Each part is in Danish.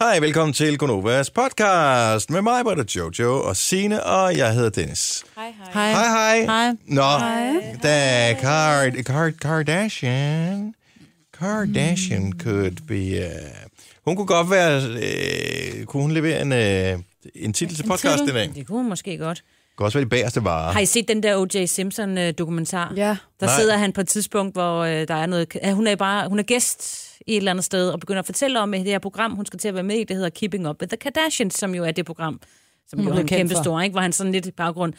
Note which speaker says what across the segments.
Speaker 1: Hej, velkommen til Gonovas podcast med mig, Britta Jojo og Sine og jeg hedder Dennis.
Speaker 2: Hej, hej.
Speaker 3: Hej.
Speaker 1: Hej, hej.
Speaker 3: Hej.
Speaker 1: Nå, der er Card, Card, Kardashian. Kardashian could be... Uh, hun kunne godt være... Uh, kunne hun levere en, uh, en titel til podcast i dag? Det
Speaker 3: Det kunne hun måske godt.
Speaker 1: kunne også være de bagerste varer.
Speaker 3: Har I set den der O.J. Simpson-dokumentar?
Speaker 2: Ja.
Speaker 3: øh,
Speaker 1: Ah. Nej.
Speaker 3: Der Nej. sidder han på et tidspunkt, hvor øh, der er noget... Ja, hun, er bare, hun er gæst i et eller andet sted, og begynder at fortælle om øh, det her program, hun skal til at være med i. Det hedder Keeping Up with the Kardashians, som jo er det program, som jo er en
Speaker 4: blev kendt
Speaker 3: kæmpe
Speaker 4: for.
Speaker 3: stor, ikke? hvor han sådan lidt i baggrund...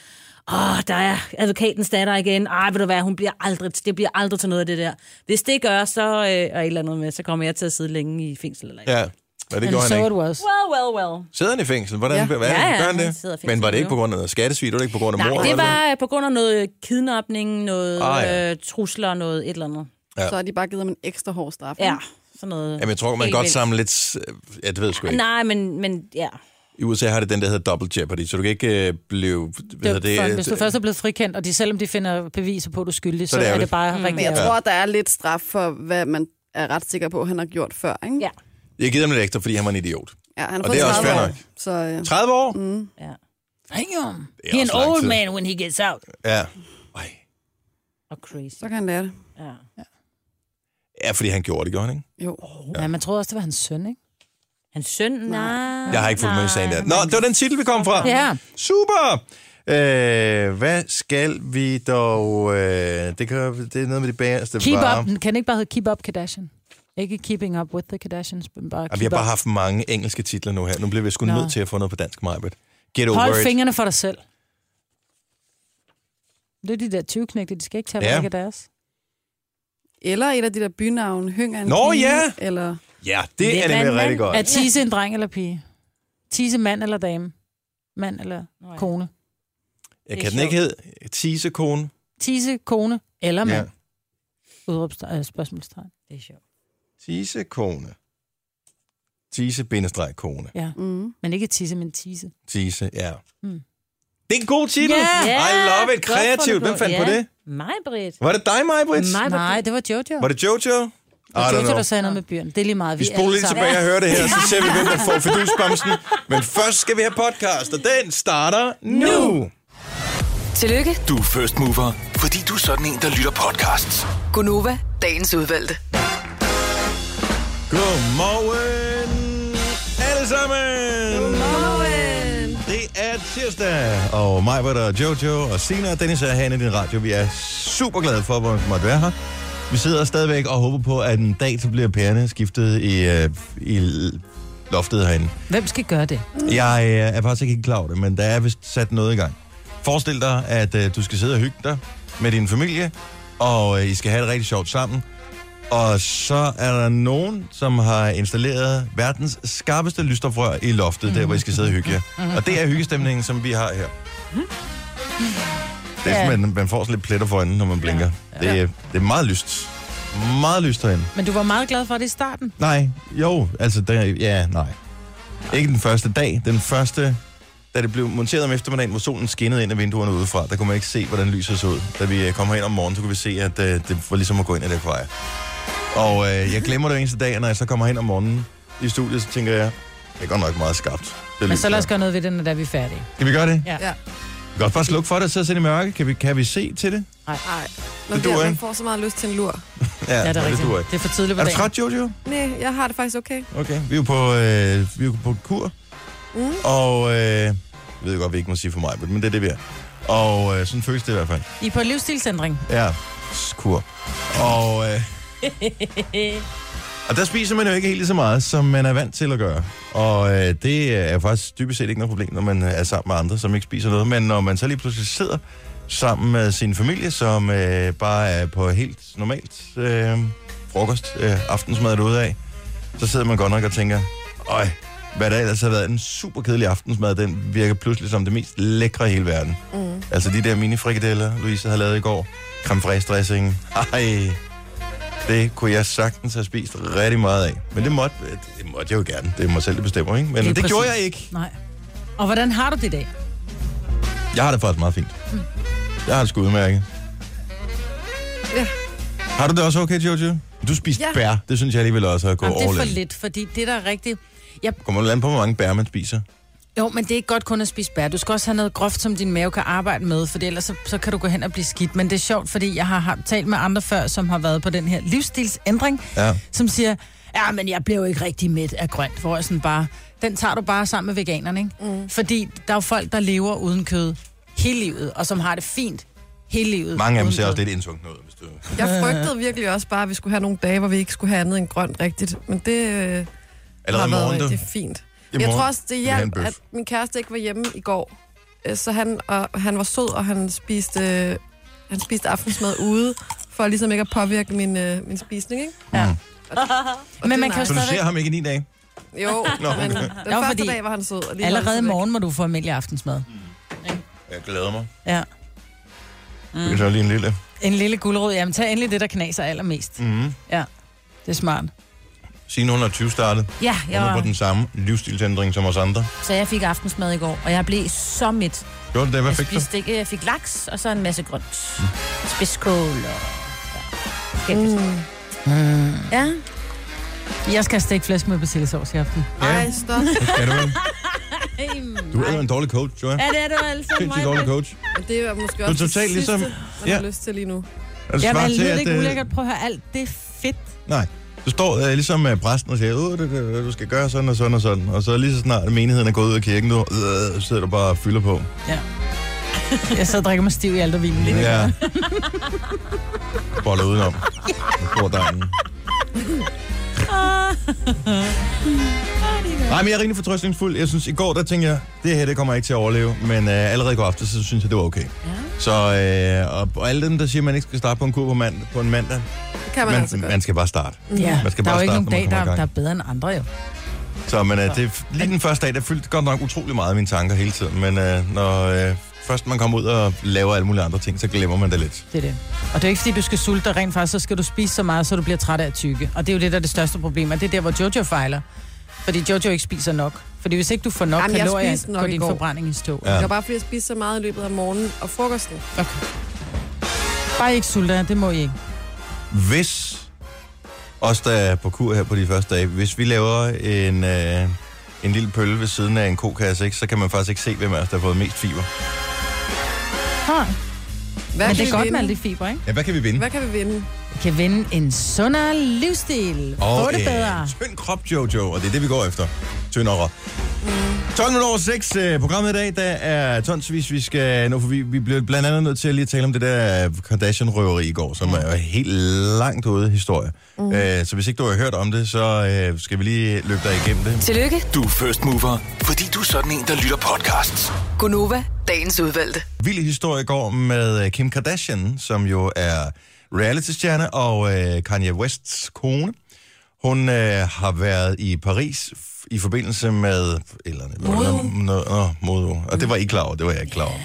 Speaker 3: Åh, der er advokatens datter igen. Ej, ved du hvad, hun bliver aldrig, det bliver aldrig til noget af det der. Hvis det gør, så øh, og et eller andet med, så kommer jeg til at sidde længe i fængsel. Eller
Speaker 1: Ja, og det
Speaker 4: And
Speaker 1: gjorde
Speaker 4: so
Speaker 1: han ikke.
Speaker 4: it was.
Speaker 3: Well, well, well.
Speaker 1: Sidder han i fængsel? Hvordan, ja. hvad,
Speaker 3: Ja, ja,
Speaker 1: gør han
Speaker 3: han sidder i
Speaker 1: det?
Speaker 3: fængsel
Speaker 1: Men var det ikke på
Speaker 3: nu.
Speaker 1: grund af noget skattesvig? Var det ikke på grund af mor?
Speaker 3: Nej,
Speaker 1: eller
Speaker 3: det
Speaker 1: noget?
Speaker 3: var øh, på grund af noget kidnapning, noget
Speaker 1: Ah,
Speaker 3: ah,
Speaker 1: ja.
Speaker 3: ja. øh, trusler, noget et eller andet.
Speaker 1: Ja.
Speaker 2: Så har de bare givet ham en ekstra hård straf.
Speaker 3: Ja, sådan noget.
Speaker 1: Jamen, jeg tror, man
Speaker 3: Helt
Speaker 1: godt
Speaker 3: vildt.
Speaker 1: samle lidt... s- Ja, det ved jeg sgu ikke.
Speaker 3: Nej, men, men ja.
Speaker 1: I USA har det den, der hedder Double Jeopardy, så du kan ikke øh, blive... Hvad hedder
Speaker 4: Det, det, for,
Speaker 1: det, øh,
Speaker 4: hvis du først er blevet frikendt, og de, selvom de finder beviser på, at du er skyldig, så,
Speaker 1: er det
Speaker 4: så er
Speaker 1: ærgerligt.
Speaker 4: det bare mm,
Speaker 2: Men
Speaker 4: rigtig
Speaker 2: jeg
Speaker 4: ærgerligt.
Speaker 2: tror, der er lidt straf for, hvad man er ret sikker på, han har gjort før. Ikke?
Speaker 3: Ja.
Speaker 1: Jeg giver dem lidt ekstra, fordi han var en idiot.
Speaker 2: ja han har
Speaker 1: Og
Speaker 2: fået
Speaker 1: det er også
Speaker 2: 30
Speaker 1: fair
Speaker 2: år,
Speaker 1: nok.
Speaker 2: Så øh,
Speaker 1: 30 år? Mm.
Speaker 3: ja.
Speaker 4: Damn.
Speaker 1: er
Speaker 4: He an
Speaker 1: også lang
Speaker 4: old
Speaker 1: tid.
Speaker 4: man when he gets out.
Speaker 1: Ja. Ej.
Speaker 3: Og crazy.
Speaker 2: så kan han lære det.
Speaker 3: Ja.
Speaker 1: Ja, fordi han gjorde det, gjorde han ikke?
Speaker 2: Jo.
Speaker 4: Ja. ja, man troede også, det var hans søn, ikke?
Speaker 3: Hans søn? Nej.
Speaker 1: Jeg har ikke fulgt med i sagen der. Nå, det var den titel, vi kom fra.
Speaker 4: Ah, Ja.
Speaker 1: Super! Øh, hvad skal vi dog... Øh, det, kan, det er noget med de bagerste
Speaker 4: Keep
Speaker 1: varer.
Speaker 4: up. Kan det ikke bare hedde Keep Up Kardashian? Ikke Keeping Up with the Kardashians, men bare
Speaker 1: Ej,
Speaker 4: Keep
Speaker 1: vi har bare
Speaker 4: Up.
Speaker 1: haft mange engelske titler nu her. Nu bliver vi sgu
Speaker 4: Nå.
Speaker 1: nødt til at få noget på dansk, Majbert. Get over
Speaker 4: Hold
Speaker 1: it.
Speaker 4: fingrene for dig selv. Det er de der 20 knægte, de skal ikke tage
Speaker 1: Ja.
Speaker 4: ja. af deres.
Speaker 2: Eller et af de der bynavne, Hønger en
Speaker 1: Nå,
Speaker 2: pige,
Speaker 1: ja!
Speaker 2: Eller
Speaker 1: Ja, det
Speaker 3: Lidt
Speaker 1: er nemlig
Speaker 3: vandmand.
Speaker 1: rigtig godt.
Speaker 4: Er Tise en dreng eller pige? Tise mand eller dame? Mand eller
Speaker 3: Nå ja.
Speaker 4: kone?
Speaker 1: Jeg Øh,
Speaker 3: det
Speaker 1: kan
Speaker 3: er
Speaker 1: den ikke hedde Tisekone.
Speaker 4: Tise, kone eller
Speaker 1: Ja.
Speaker 4: mand? Ja. Udrupstegn, øh, spørgsmålstegn.
Speaker 3: Det er sjovt.
Speaker 1: Tisekone. Tise-kone.
Speaker 4: Ja.
Speaker 2: mm,
Speaker 4: Men ikke tisse, men tisse.
Speaker 1: Tise, ja.
Speaker 4: Mm.
Speaker 1: Det er en god titel.
Speaker 4: Ja!
Speaker 1: I love it.
Speaker 3: Godt fundet
Speaker 1: Kreativt. Hvem fandt
Speaker 3: ja.
Speaker 1: på det?
Speaker 3: Mig, Britt.
Speaker 1: Var det dig, Maja Brits?
Speaker 3: Mig,
Speaker 4: Nej, det var Jojo.
Speaker 1: Var det Jojo? I
Speaker 4: Det var
Speaker 1: don't
Speaker 4: Jojo,
Speaker 1: know.
Speaker 4: der sagde noget med byen. Det er lige meget.
Speaker 1: Vi spoler lidt tilbage og hører det her, så ser vi, hvem der får fidusbamsen. Men først skal vi have podcast, og den starter nu.
Speaker 5: Tillykke,
Speaker 6: Du er first mover, fordi du er sådan en, der lytter podcasts.
Speaker 5: Gunova, dagens udvalgte.
Speaker 1: Godmorgen, øh, alle sammen. Det er tirsdag, og mig, var der Jojo og Sina og Dennis er herinde i din radio. Vi er super glade for, hvor vi måtte være her. Vi sidder stadigvæk og håber på, at en dag så bliver pærerne skiftet i, øh, i l- loftet herinde.
Speaker 4: Hvem skal gøre det?
Speaker 1: Jeg øh, er faktisk ikke helt klar over det, men der er vist sat noget i gang. Forestil dig, at øh, du skal sidde og hygge dig med din familie, og øh, I skal have det rigtig sjovt sammen. Og så er der nogen, som har installeret verdens skarpeste lysstofrør i loftet, der hvor I skal sidde og hygge jer. Og det er hyggestemningen, som vi har her. Det er,
Speaker 4: Ja.
Speaker 1: som, man, man får sådan lidt pletter for øjnene, når man blinker. Det, er, det er meget lyst. Meget lyst herinde.
Speaker 4: Men du var meget glad for det i starten.
Speaker 1: Nej, jo, altså, der, ja, nej. Ikke den første dag, den første, da det blev monteret om eftermiddagen, hvor solen skinnede ind af vinduerne udefra, der kunne man ikke se, hvordan lyset så ud. Da vi øh, kom herind om morgenen, så kunne vi se, at øh, det var ligesom at gå ind i det akvarie. Og øh, jeg glemmer det hver eneste dag, og når jeg så kommer hen om morgenen i studiet, så tænker jeg, det er godt nok meget skarpt. Det
Speaker 4: Men
Speaker 1: lys
Speaker 4: så lad os
Speaker 1: her."
Speaker 4: gøre noget ved det, når der vi er færdige.
Speaker 1: Kan vi gøre det?
Speaker 4: Ja.
Speaker 2: Ja.
Speaker 1: Vi kan godt bare slukke for det, og så sætte i mørke. Kan vi, kan vi se til det?
Speaker 2: Ej, man,
Speaker 1: Det
Speaker 2: bliver,
Speaker 1: duer
Speaker 2: man
Speaker 1: ikke.
Speaker 2: får så meget lyst til en lur.
Speaker 4: Ja, det
Speaker 1: nej,
Speaker 4: er rigtigt.
Speaker 1: duer ikke.
Speaker 4: Det er for tidligt på
Speaker 1: Er du
Speaker 4: dagen.
Speaker 1: træt, Jojo?
Speaker 2: Nej, jeg har det faktisk okay.
Speaker 1: Okay, vi er jo på, øh, vi er jo på kur. Mm.
Speaker 2: Mm.
Speaker 1: Og øh, jeg ved godt, vi ikke må sige for mig, men det er det, vi er. Og øh, sådan føles det i hvert fald.
Speaker 4: I er på livsstilsændring.
Speaker 1: Ja, s- kur. Og, øh, og der spiser man jo ikke helt lige så meget, som man er vant til at gøre. Og øh, det er faktisk dybest set ikke noget problem, når man øh, er sammen med andre, som ikke spiser noget. Men når man så lige pludselig sidder sammen med sin familie, som øh, bare er på helt normalt øh, frokost, øh, aftensmad ud af, så sidder man godt nok og tænker, øj, hvad der ellers har været en super kedelig aftensmad, den virker pludselig som det mest lækre i hele verden. Mm. Altså de der minifrikadeller, Louise har lavet i går, creme fraise dressing, ej, det kunne jeg sagtens have spist rigtig meget af. Men det måtte, øh, det måtte jeg jo gerne, det er mig selv, der bestemmer, ikke? Men
Speaker 4: Lige
Speaker 1: det, det gjorde jeg
Speaker 4: præcis.
Speaker 1: ikke.
Speaker 4: Nej. Og hvordan har du det i dag?
Speaker 1: Jeg har det faktisk meget fint.
Speaker 4: Mm.
Speaker 1: Jeg har det sgu udmærket.
Speaker 2: Ja.
Speaker 1: Har du det også okay, Jojo? Du spiste
Speaker 2: Ja.
Speaker 1: bær. Det synes jeg alligevel også er gået
Speaker 4: Jamen, det er
Speaker 1: over
Speaker 4: for lidt, fordi det, der er rigtigt... Jeg,
Speaker 1: Kommer du an på, hvor mange bær man spiser?
Speaker 4: jo, men det er ikke godt kun at spise bær. Du skal også have noget groft, som din mave kan arbejde med, for ellers så, så kan du gå hen og blive skidt. Men det er sjovt, fordi jeg har, har talt med andre før, som har været på den her livsstilsændring,
Speaker 1: Ja.
Speaker 4: som siger, ja, men jeg blev jo ikke rigtig mæt af grønt, hvor jeg sådan bare, den tager du bare sammen med veganerne, ikke? Mm. Fordi der er jo folk, der lever uden kød hele livet, og som har det fint hele livet.
Speaker 1: Mange af dem
Speaker 4: uden
Speaker 1: ser
Speaker 4: kød.
Speaker 1: også lidt indtungt ud, hvis du...
Speaker 2: Jeg frygtede virkelig også bare, at vi skulle have nogle dage, hvor vi ikke skulle have andet end grønt rigtigt. Men det øh,
Speaker 1: Allerede
Speaker 2: har
Speaker 1: i morgen,
Speaker 2: været
Speaker 1: du.
Speaker 2: rigtig fint. Men Jeg
Speaker 1: morgen
Speaker 2: tror også, det
Speaker 1: vi have en
Speaker 2: hjalp,
Speaker 1: bøf.
Speaker 2: at min kæreste ikke var hjemme i går. Øh, Så han, og, han var sød, og han spiste, øh, han spiste aftensmad ude, for ligesom ikke at påvirke min, øh, min spisning, ikke?
Speaker 4: Ja.
Speaker 1: Mm.
Speaker 2: Og
Speaker 4: Men
Speaker 2: det
Speaker 4: man
Speaker 2: er
Speaker 4: kan jo
Speaker 1: Så
Speaker 2: nice.
Speaker 1: du
Speaker 4: stadig-
Speaker 1: ser ham ikke i ni dage?
Speaker 2: Jo,
Speaker 1: Nå,
Speaker 2: men
Speaker 1: okay.
Speaker 2: den
Speaker 4: Jo,
Speaker 2: første
Speaker 4: fordi
Speaker 2: dag var han sød. Og lige
Speaker 4: Allerede i
Speaker 2: langt væk.
Speaker 4: morgen må du få almindelig aftensmad.
Speaker 1: Mm. Jeg glæder mig.
Speaker 4: Ja.
Speaker 1: Mm. Det er så lige en lille.
Speaker 4: En lille gulerod, jamen tag endelig det, der knaser allermest.
Speaker 1: Mm.
Speaker 4: Ja, det er smart.
Speaker 1: Siden 120 startede.
Speaker 3: Ja,
Speaker 1: Ja.
Speaker 3: jeg
Speaker 1: Hun er på
Speaker 3: var,
Speaker 1: den samme livsstilsændring som os andre.
Speaker 3: så jeg fik aftensmad i går, og jeg blev så midt.
Speaker 1: Gjorde du det? Hvad
Speaker 3: Jeg
Speaker 1: fik du?
Speaker 3: spiste ikke, jeg fik laks, og så en masse grønt.
Speaker 1: Mm.
Speaker 3: Spidskål og... Ja. Mm. Ja.
Speaker 4: Jeg skal have stegflæsk med persillesovs i aften.
Speaker 2: Ej, stop.
Speaker 1: Kan du vel? Du er en dårlig coach, Joja.
Speaker 3: Ja, det er du altså
Speaker 1: Sindssygt dårlig
Speaker 3: mig.
Speaker 1: coach.
Speaker 2: Men Det er måske
Speaker 1: Du er
Speaker 2: også det
Speaker 1: totalt
Speaker 2: sidste,
Speaker 1: ligesom-
Speaker 2: man
Speaker 1: Ja.
Speaker 2: har lyst til lige nu.
Speaker 1: Er det
Speaker 4: Jeg
Speaker 1: svaret
Speaker 4: vil
Speaker 1: til,
Speaker 4: lyde
Speaker 1: at,
Speaker 4: ikke
Speaker 1: øh,
Speaker 4: ulækkert. Prøv at høre alt. Det er fedt.
Speaker 1: Nej. Du står øh, ligesom øh, præsten og siger, "Åh, det, det, du skal gøre sådan og sådan og sådan. Og så lige så snart menigheden er gået ud af kirken, du, øh, sidder du bare og fylder på.
Speaker 4: Jeg sidder og drikker mig stiv i aldervinen lige nu.
Speaker 1: Ja. Boller udenom. Bor dejen. Nej, men jeg er rimelig fortrøstningsfuld. Jeg synes, i går, der tænkte jeg, det her, det kommer jeg ikke til at overleve. Men øh, allerede i går aftes, så synes jeg, det var okay. Ja. Så, øh, og, og alle dem, der siger, at man ikke skal starte på en kur på, mand, på en mandag,
Speaker 2: Det kan man,
Speaker 1: man,
Speaker 2: altså godt.
Speaker 1: man skal bare starte.
Speaker 4: Ja,
Speaker 1: Man skal
Speaker 4: der er
Speaker 1: bare
Speaker 4: jo ikke
Speaker 1: starte,
Speaker 4: nogen
Speaker 1: når man kommer
Speaker 4: dag,
Speaker 1: i
Speaker 4: der,
Speaker 1: gang.
Speaker 4: der er bedre end andre jo.
Speaker 1: Så men, øh, det, er- lige den første dag, der fyldte godt nok utrolig meget af mine tanker hele tiden. Men øh, når øh, først man kommer ud og laver alle mulige andre ting, så glemmer man det lidt.
Speaker 4: Det er det. Og det er ikke, fordi du skal sulte dig rent faktisk, så skal du spise så meget, så du bliver træt af at tykke. Og det er jo det, der er det største problem, og det er der, hvor Jojo fejler. Fordi Jojo ikke spiser nok. Fordi hvis ikke du får nok
Speaker 2: Jamen, jeg
Speaker 4: kalorier,
Speaker 2: spiste nok
Speaker 4: går
Speaker 2: i
Speaker 4: din
Speaker 2: går.
Speaker 4: forbrænding i stå.
Speaker 1: Ja.
Speaker 2: Det var bare fordi, jeg spiste så meget i løbet af morgenen og frokosten.
Speaker 4: Okay. Bare ikke sulte jer, det må I ikke.
Speaker 1: Hvis os, der er på kur her på de første dage, hvis vi laver en, øh, en lille pølle ved siden af en kokasse, ikke, så kan man faktisk ikke se, hvem af os, der har fået mest fiber.
Speaker 4: Ah, men
Speaker 2: Hvad kan
Speaker 4: det
Speaker 2: vi
Speaker 4: er godt
Speaker 2: vinde?
Speaker 4: med alle de fiber, ikke?
Speaker 1: Ja, hvad kan vi vinde?
Speaker 2: Hvad kan vi vinde?
Speaker 4: Vi kan vinde en sundere livsstil. Få det bedre.
Speaker 1: en tynd krop, Jojo, og det er det, vi går efter. Tyndere. 12 minutter over 6. Øh, programmet i dag, der er tonsvis, vi skal nå forbi. Vi blev blandt andet nødt til at lige tale om det der Kardashian-røveri i går, som er jo helt langt ude historie.
Speaker 4: Mhm.
Speaker 1: Mm. Øh, så hvis ikke du har hørt om det, så øh, skal vi lige løbe dig igennem det.
Speaker 5: Tillykke,
Speaker 6: Du er first mover, fordi du er sådan en, der lytter podcasts.
Speaker 5: Gunova, dagens udvalgte.
Speaker 1: Vild historie i går med øh, Kim Kardashian, som jo er reality-stjerne og øh, Kanye Wests kone. Hun øh, har været i Paris f- i forbindelse med... Eller, Modo. Noget, åh, Modo. Og det var I ikke klar over, det var jeg ikke klar over.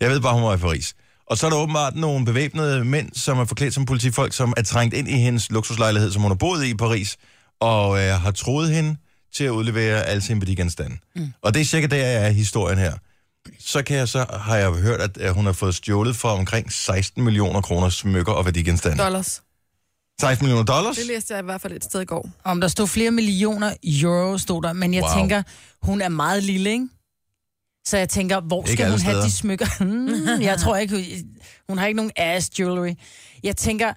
Speaker 1: Jeg ved bare, hun var i Paris. Og så er der åbenbart nogle bevæbnede mænd, som er forklædt som politifolk, som er trængt ind i hendes luksuslejlighed, som hun har boet i i Paris, og øh, har troet hende til at udlevere alle sine værdigenstande. Mm. Og det er cirka der, jeg er i historien her så kan jeg så, har jeg hørt, at, at hun har fået stjålet for omkring 16 millioner kroner smykker og værdigenstande.
Speaker 2: Dollars.
Speaker 1: 16 millioner dollars?
Speaker 2: Det læste jeg i hvert fald et sted i går.
Speaker 4: Om der stod flere millioner euro, stod der. Men jeg
Speaker 1: Wow.
Speaker 4: wow. tænker, hun er meget lille, ikke? Så jeg tænker, hvor
Speaker 1: Ikke
Speaker 4: skal
Speaker 1: alle
Speaker 4: hun have
Speaker 1: steder.
Speaker 4: de smykker? Hmm, jeg tror ikke, hun- hun har ikke nogen ass jewelry. Jeg tænker,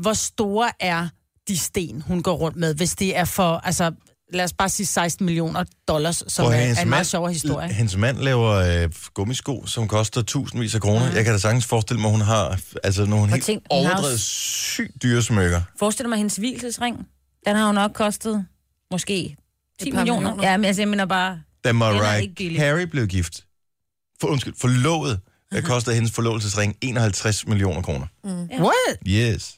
Speaker 4: hvor store er de sten, hun går rundt med, hvis det er for, altså, lad os bare sige 16 millioner dollars, som
Speaker 1: Prøv
Speaker 4: er,
Speaker 1: at høre,
Speaker 4: er en meget sjovere historie.
Speaker 1: l- Hendes mand laver øh, gummisko, som koster tusindvis af kroner. Mm. Jeg kan da sagtens forestille mig, at hun har altså, nogle helt
Speaker 3: tænk, hun har
Speaker 1: overdrevet
Speaker 3: også-
Speaker 1: sygt dyre smykker.
Speaker 3: Forestil dig mig hendes hvilesesring. Den har jo nok kostet måske 10
Speaker 2: par
Speaker 3: millioner.
Speaker 2: millioner.
Speaker 3: Ja, men altså, jeg mener bare...
Speaker 1: Da Mariah
Speaker 3: ikke billig.
Speaker 1: Carey blev gift, for, undskyld, forlovet,
Speaker 4: Mhm.
Speaker 1: der kostede hendes forlovelsesring 51 millioner kroner.
Speaker 4: What?
Speaker 1: Yes.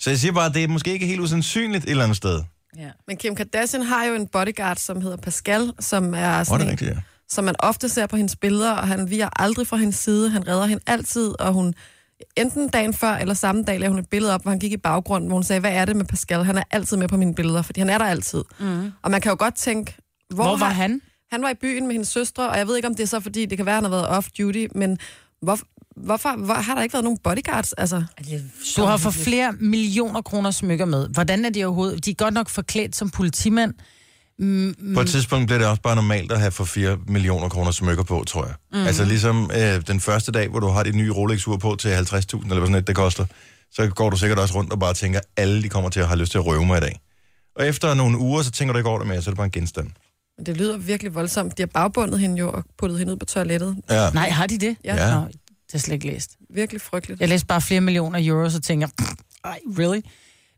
Speaker 1: Så jeg siger bare, at det er måske ikke helt usandsynligt et eller andet sted. Åh,
Speaker 3: Ja.
Speaker 2: Men Kim Kardashian har jo en bodyguard, som hedder Pascal, som er
Speaker 1: det
Speaker 2: sådan
Speaker 1: er
Speaker 2: en,
Speaker 1: rigtigt, ja.
Speaker 2: som man ofte ser på hendes billeder, og han viger aldrig fra hendes side. Han redder hende altid, og hun enten dagen før eller samme dag lavede hun et billede op, hvor han gik i baggrunden, hvor hun sagde, hvad er det med Pascal? Han er altid med på mine billeder, fordi han er der altid. Mm. Og man kan jo godt tænke, hvor,
Speaker 4: Hvor var
Speaker 2: har-
Speaker 4: han?
Speaker 2: Han var i byen med hendes søstre, og jeg ved ikke, om det er så, fordi det kan være, han har været off-duty, men hvor, hvorfor hvor, har der ikke været nogen bodyguards? Altså,
Speaker 4: Du har for flere millioner kroner smykker med. Hvordan er de overhovedet? De er godt nok forklædt som politimænd.
Speaker 1: På et tidspunkt blev det også bare normalt at have for 4 millioner kroner smykker på, tror jeg. Mm. Altså ligesom øh, den første dag, hvor du har dit nye Rolex-ur på til 50.000, eller hvad sådan et, det koster, så går du sikkert også rundt og bare tænker, alle de kommer til at have lyst til at røve mig i dag. Og efter nogle uger, så tænker du ikke over det mere, så er det bare en genstand.
Speaker 2: men det lyder virkelig voldsomt. De har bagbundet hende jo og puttet hende ud på toilettet.
Speaker 1: Ja.
Speaker 4: Nej, har de det?
Speaker 2: Ja.
Speaker 1: Ja.
Speaker 4: Nå, det har jeg slet ikke læst.
Speaker 2: Virkelig frygteligt.
Speaker 4: Jeg læste bare flere millioner euro, så tænker jeg, ej, really?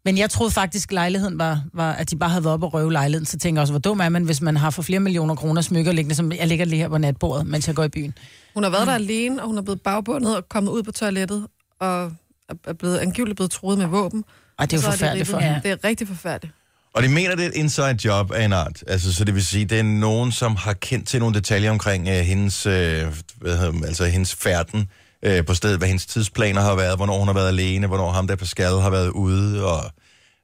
Speaker 4: Men jeg troede faktisk, lejligheden var, var, at de bare havde været oppe og røve lejligheden. Så tænker jeg også, hvor dum er man, hvis man har for flere millioner kroner smykker liggende, som jeg ligger lige her på natbordet, mens jeg går i byen.
Speaker 2: Hun har været der alene, og hun er blevet bagbundet og kommet ud på toilettet, og er- er blevet, angiveligt blevet truet med våben.
Speaker 4: Og det er
Speaker 2: Så
Speaker 4: jo forfærdeligt
Speaker 2: ribbet.
Speaker 4: for hende.
Speaker 2: Det er rigtig forfærdeligt.
Speaker 1: Og de mener, det er et inside job af en art. Altså, så det vil sige, det er nogen, som har kendt til nogle detaljer omkring øh, hendes, øh, hvad hedder, den, altså, hendes færden øh, på stedet, hvad hendes tidsplaner har været, hvornår hun har været alene, hvornår ham der Pascal har været ude og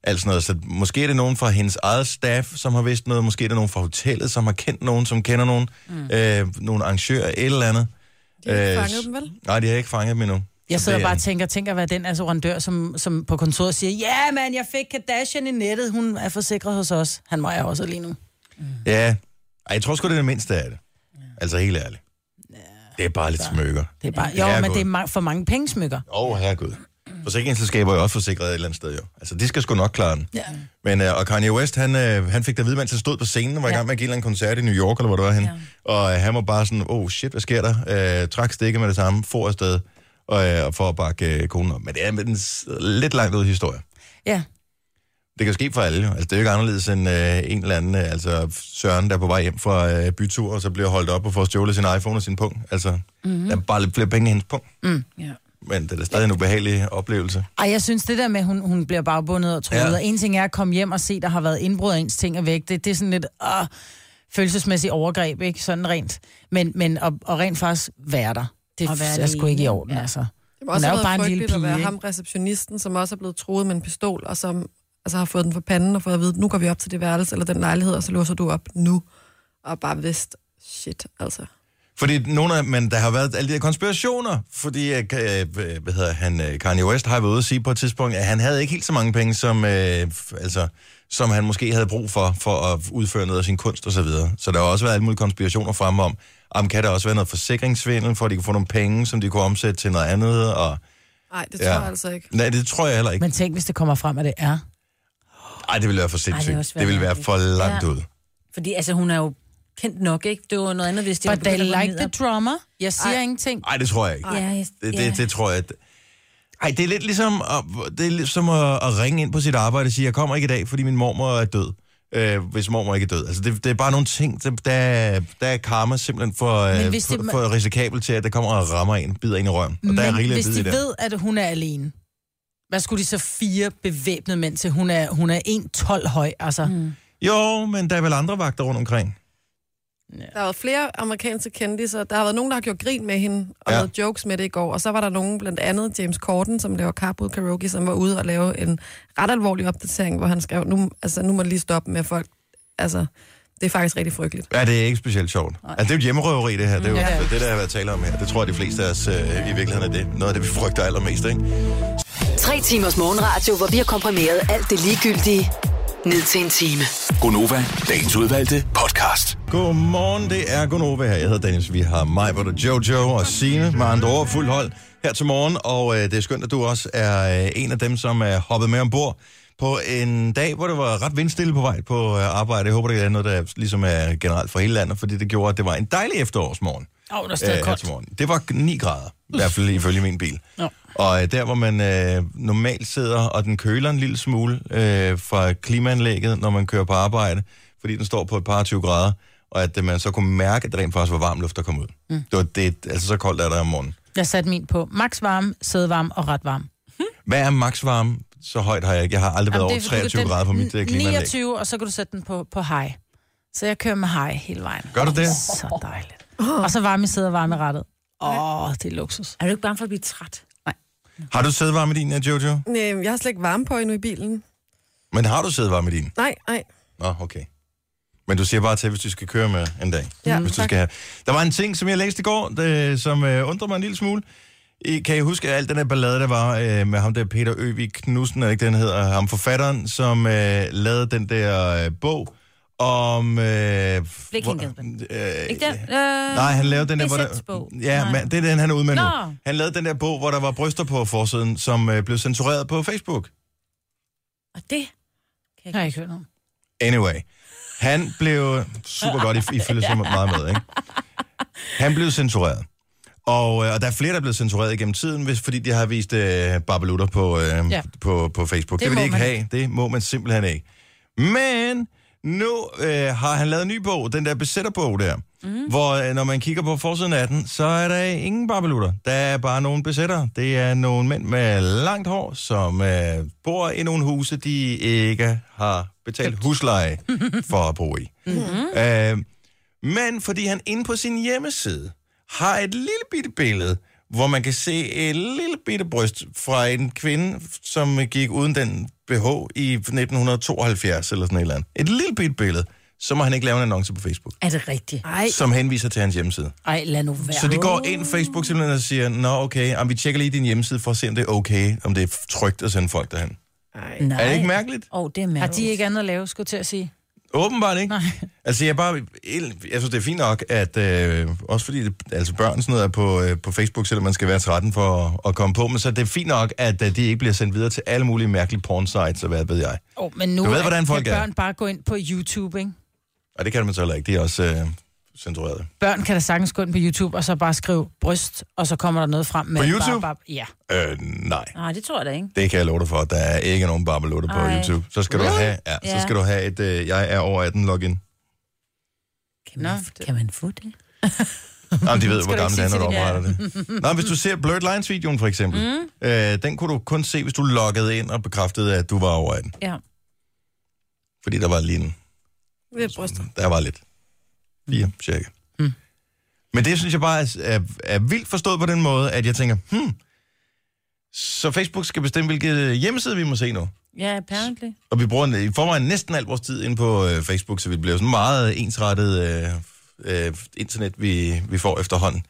Speaker 1: alt sådan noget. Så måske er det nogen fra hendes eget staff, som har vidst noget. Måske er det nogen fra hotellet, som har kendt nogen, som kender nogen. Mm. Øh, nogle arrangører, et eller andet.
Speaker 2: De har ikke
Speaker 1: Øh,
Speaker 2: fanget dem, vel?
Speaker 1: Nej, de har ikke fanget dem endnu.
Speaker 4: Jeg
Speaker 1: Så
Speaker 4: sidder
Speaker 1: det er-
Speaker 4: bare og tænker, tænker, hvad den assurandør, som, som på kontoret siger, ja, mand, jeg fik Kardashian i nettet, hun er forsikret hos os. Han var jeg også lige nu.
Speaker 1: Ja. Ej, jeg tror sgu, det er det mindste af det. Altså, helt ærligt. Det er bare lidt smykker.
Speaker 4: Det er bare,
Speaker 1: Ja,
Speaker 4: jo, men
Speaker 1: godt.
Speaker 4: det er ma- for mange pengesmykker.
Speaker 1: Åh, oh, herregud. Forsikringsselskaber er jo også forsikret et eller andet sted, jo. Altså, de skal sgu nok klare den. Ja. Men, øh, og Kanye West, han, øh, han fik da videre, mens han stod på scenen, og var ja. i gang med at give en eller anden koncert i New York, eller hvor det var han. Ja. Og øh, han var bare sådan, oh shit, hvad sker der? Øh, trak stikket med det samme, for afsted, og, øh, og for at bakke øh, konen op. Men det er med den s- lidt langt ud historie.
Speaker 4: Ja,
Speaker 1: Det kan ske for alle, jo. Altså, det er jo ikke anderledes end øh, en eller anden, øh, altså Søren, der er på vej hjem fra øh, bytur, og så bliver holdt op og får stjålet sin iPhone og sin pung. Altså, mm-hmm. der er bare lidt flere penge i hendes pung.
Speaker 4: mm, ja.
Speaker 1: Men det er da stadig en ubehagelig oplevelse.
Speaker 4: Ej, jeg synes det der med, at hun, hun bliver bagbundet og truet,
Speaker 1: Ja.
Speaker 4: ja. og en ting er at komme hjem og se, der har været indbrud, og ens ting er væk, det, det er sådan lidt øh, følelsesmæssigt overgreb, ikke? Sådan rent. Men, men og, og rent faktisk være der. Det
Speaker 3: Og være
Speaker 4: er sgu ikke i
Speaker 3: alene,
Speaker 4: orden, ja.
Speaker 3: ja.
Speaker 4: altså.
Speaker 2: Det må også
Speaker 4: er
Speaker 2: have
Speaker 4: jo
Speaker 2: været
Speaker 4: bare en lille
Speaker 2: frygteligt at
Speaker 4: pige,
Speaker 2: være
Speaker 4: ikke?
Speaker 2: ham, receptionisten, som også er blevet truet med en pistol, og som altså, har fået den for panden og fået at vide, nu går vi op til det værelse eller den lejlighed, og så låser du op nu. Og bare vidst, shit, altså.
Speaker 1: Fordi nogle af, men der har været alle de her konspirationer, fordi øh, hvad hedder han, øh, Kanye West har været ude at sige på et tidspunkt, at han havde ikke helt så mange penge, som, øh, f- altså, som han måske havde brug for, for at udføre noget af sin kunst osv. Så, videre. så der har også været alle mulige konspirationer frem om, om kan der også være noget forsikringssvindel, for at de kunne få nogle penge, som de kunne omsætte til noget andet, og
Speaker 2: Nej, det
Speaker 1: Ja.
Speaker 2: ja. tror jeg altså ikke.
Speaker 1: nej, det tror jeg heller ikke.
Speaker 4: Men tænk, hvis det kommer frem, at det er.
Speaker 1: Nej, det ville være for sindssygt.
Speaker 3: også
Speaker 1: det,
Speaker 3: være
Speaker 1: det ville være
Speaker 3: mærkeligt.
Speaker 1: for langt
Speaker 3: Ja.
Speaker 1: ud.
Speaker 3: Fordi altså, hun er jo kendt nok, ikke? Det var noget andet, hvis det
Speaker 4: But they
Speaker 3: begyndt at gå
Speaker 4: like
Speaker 3: ned
Speaker 4: the
Speaker 3: ad-
Speaker 4: drummer. Jeg siger Ej. ingenting.
Speaker 1: Nej, det tror jeg ikke.
Speaker 3: Ja, jeg-
Speaker 1: Det,
Speaker 3: ja.
Speaker 1: det, det tror jeg... Ej, det er lidt ligesom, at, det er lidt som at, at ringe ind på sit arbejde og sige, jeg kommer ikke i dag, fordi min mormor er død. Øh, hvis mormor ikke er død. Altså, det, det er bare nogle ting, der, der, der er karma simpelthen for, øh,
Speaker 4: hvis
Speaker 1: for,
Speaker 4: det-
Speaker 1: for risikabel til, at det kommer og rammer en, bider en i røven. Og der er
Speaker 4: Men
Speaker 1: rigeligt
Speaker 4: hvis
Speaker 1: at bide
Speaker 4: de
Speaker 1: i det.
Speaker 4: ved, at hun er alene, hvad skulle de så fire bevæbnede mænd til? Hun er, hun er 1,12 høj, altså. Mm.
Speaker 1: Jo, men der er vel andre vagter rundt omkring.
Speaker 2: Der har været flere amerikanske kendtiser. Der har været nogen, der har gjort grin med hende og
Speaker 1: Ja.
Speaker 2: ja. lavet jokes med det i går. Og så var der nogen, blandt andet James Corden, som laver Carpool Karaoke, som var ude og lave en ret alvorlig opdatering, hvor han skrev, nu, altså, nu må jeg lige stoppe med at folk. Altså, det er faktisk rigtig frygteligt.
Speaker 1: Ja, det er ikke specielt sjovt. Altså, det er jo et hjemmerøveri, det her. Det er jo
Speaker 4: Mm.
Speaker 1: ja. det, der har været tale om her. Det tror jeg, de fleste af os øh, i virkeligheden er det. Noget af det, vi frygter allermest, ikke?
Speaker 5: Tre timers morgenradio, hvor vi har komprimeret alt det ligegyldige ned til en time.
Speaker 6: Gonova, dagens udvalgte podcast.
Speaker 1: Godmorgen, det er Gunova her. Jeg hedder Dennis. Vi har mig, hvor Jojo og Signe, med andre ord, fuld hold her til morgen. Og øh, det er skønt, at du også er øh, en af dem, som er hoppet med ombord på en dag, hvor det var ret vindstille på vej på øh, arbejde. Jeg håber, det er noget, der ligesom er generelt for hele landet, fordi det gjorde, at det var en dejlig efterårsmorgen.
Speaker 4: Åh, der er stadig
Speaker 1: Øh, her
Speaker 4: koldt.
Speaker 1: til morgen. Det var 9 grader, i hvert fald ifølge min bil.
Speaker 4: Ja.
Speaker 1: Og øh, der, hvor man øh, normalt sidder, og den køler en lille smule øh, fra klimaanlægget, når man kører på arbejde, fordi den står på et par 20 grader, og at øh, man så kunne mærke, at der rent faktisk var varm luft, der kom ud. Mm. Det var det, altså så koldt er der om morgenen.
Speaker 4: Jeg satte min på max varme, sædvarme og ret varme.
Speaker 1: Hvad er maksvarme? Så højt har jeg ikke. Jeg har aldrig været
Speaker 4: Jamen,
Speaker 1: over
Speaker 4: det er, fordi
Speaker 1: 23
Speaker 4: den-
Speaker 1: grader på mit øh, klimaanlæg.
Speaker 4: 29, og så kan du sætte den på, på high. Så jeg kører med high hele vejen.
Speaker 1: Gør du det?
Speaker 4: Så dejligt. Og så varme i sæde og varme i rettet. Åh, oh, det er luksus.
Speaker 3: Er du ikke bange for at blive træt?
Speaker 1: Har du sædvarme i din, øh, Jojo?
Speaker 2: Nej, jeg har slet ikke varme på endnu i bilen.
Speaker 1: Men har du sædvarme i din?
Speaker 2: Nej, nej.
Speaker 1: Nå, okay. Men du siger bare til, hvis du skal køre med en dag.
Speaker 2: Ja,
Speaker 1: hvis du
Speaker 2: tak.
Speaker 1: skal have. Der var en ting, som jeg læste i går, det, som øh, undrede mig en lille smule. I, kan I huske alt den her ballade, der var øh, med ham der Peter Øvig Knudsen, eller ikke den hedder, ham forfatteren, som øh, lavede den der øh, bog om... Øh,
Speaker 3: Blikindgadebanden.
Speaker 1: øh,
Speaker 3: Ikke den? Øh,
Speaker 1: Nej, han lavede den der, hvor
Speaker 3: Besets
Speaker 1: der,
Speaker 3: bog.
Speaker 1: Ja,
Speaker 3: Nej.
Speaker 1: men, det er den, han er ude med nu.
Speaker 3: Nå.
Speaker 1: Han lavede den der bog, hvor der var bryster på forsiden, som øh, blev censureret på Facebook.
Speaker 3: Og det kan jeg
Speaker 4: har jeg
Speaker 3: ikke.
Speaker 4: ikke hørt om.
Speaker 1: Anyway, han blev super godt, I, I følger så meget med, ikke? Han blev censureret. Og, øh, og der er flere, der er blevet censureret igennem tiden, hvis, fordi de har vist øh, barbelutter på, øh, ja.
Speaker 4: Ja.
Speaker 1: på, på Facebook. Det,
Speaker 4: Det
Speaker 1: det vil de
Speaker 4: må
Speaker 1: ikke
Speaker 4: man
Speaker 1: have. Det må man simpelthen ikke. Men nu øh, har han lavet en ny bog, den der besætterbog der, mm. hvor øh, når man kigger på forsiden af den, så er der ingen barbelutter. Der er bare nogle besættere. Det er nogle mænd med langt hår, som øh, bor i nogle huse, de ikke har betalt husleje for at bo i.
Speaker 4: Mm-hmm.
Speaker 1: Mm. Øh, men fordi han inde på sin hjemmeside har et lille bitte billede, hvor man kan se et lille bitte bryst fra en kvinde, som gik uden den BH i 1972 eller sådan et eller andet. Et lille bitte billede. Så må han ikke lave en annonce på Facebook,
Speaker 4: Er det rigtigt?
Speaker 1: Ej. som henviser til hans hjemmeside.
Speaker 4: Ej, lad nu være.
Speaker 1: Så de går ind på Facebook simpelthen og siger, Nå okay, jamen, vi tjekker lige din hjemmeside for at se, om det er okay, om det er trygt at sende folk derhen.
Speaker 3: Nej.
Speaker 1: Er det ikke mærkeligt?
Speaker 3: Åh, oh, det er
Speaker 4: Har
Speaker 3: mærkeligt.
Speaker 4: de ikke andet at lave, skulle jeg til at sige?
Speaker 1: Åbenbart ikke. Nej. Altså, jeg er bare... Jeg synes, det er fint nok, at... Øh, også fordi det, altså, børn sådan noget er på, øh, på Facebook, selvom man skal være 13 for at, at komme på, men så det er fint nok, at øh, de ikke bliver sendt videre til alle mulige mærkelige porn-sites, og hvad ved jeg.
Speaker 4: Oh, men nu
Speaker 1: Du ved,
Speaker 4: er-
Speaker 1: hvordan folk
Speaker 4: kan
Speaker 1: er.
Speaker 4: børn bare gå ind på YouTube, ikke?
Speaker 1: Og det kan man så heller ikke. De er også øh, censureret.
Speaker 4: Børn kan da sagtens gå ind på YouTube, og så bare skrive bryst, og så kommer der noget frem med...
Speaker 1: På YouTube?
Speaker 4: Bare, bare, ja.
Speaker 1: Øh, nej.
Speaker 3: Nej, det tror jeg da ikke.
Speaker 1: Det kan jeg love dig for. Der er ikke nogen barbelutter på
Speaker 3: Ej.
Speaker 1: YouTube. Så skal, du
Speaker 3: Really?
Speaker 1: have, ja, så
Speaker 3: Ja.
Speaker 1: skal du have et... Øh, jeg er over 18 login.
Speaker 3: Kan man, kan man få det?
Speaker 1: Jamen, de ved, hvor
Speaker 4: Skal du
Speaker 1: gammel det
Speaker 4: ikke
Speaker 1: er, når
Speaker 4: sige
Speaker 1: du
Speaker 4: til
Speaker 1: opretter det. Nå, men hvis du ser Blurred Lines-videoen, for eksempel, mm. øh, den kunne du kun se, hvis du loggede ind og bekræftede, at du var over 18.
Speaker 3: Ja.
Speaker 1: Fordi der var lige en,
Speaker 2: Ved bryster.
Speaker 1: der var lidt. Fire, cirka. Mm. Men det synes jeg bare er, er, er vildt forstået på den måde, at jeg tænker, hmm, så Facebook skal bestemme, hvilke hjemmeside vi må se nu.
Speaker 3: Ja, apparently.
Speaker 1: Og vi bruger i forvejen næsten al vores tid inde på øh, Facebook, så vi bliver sådan meget ensrettet øh, øh, internet, vi, vi får efterhånden.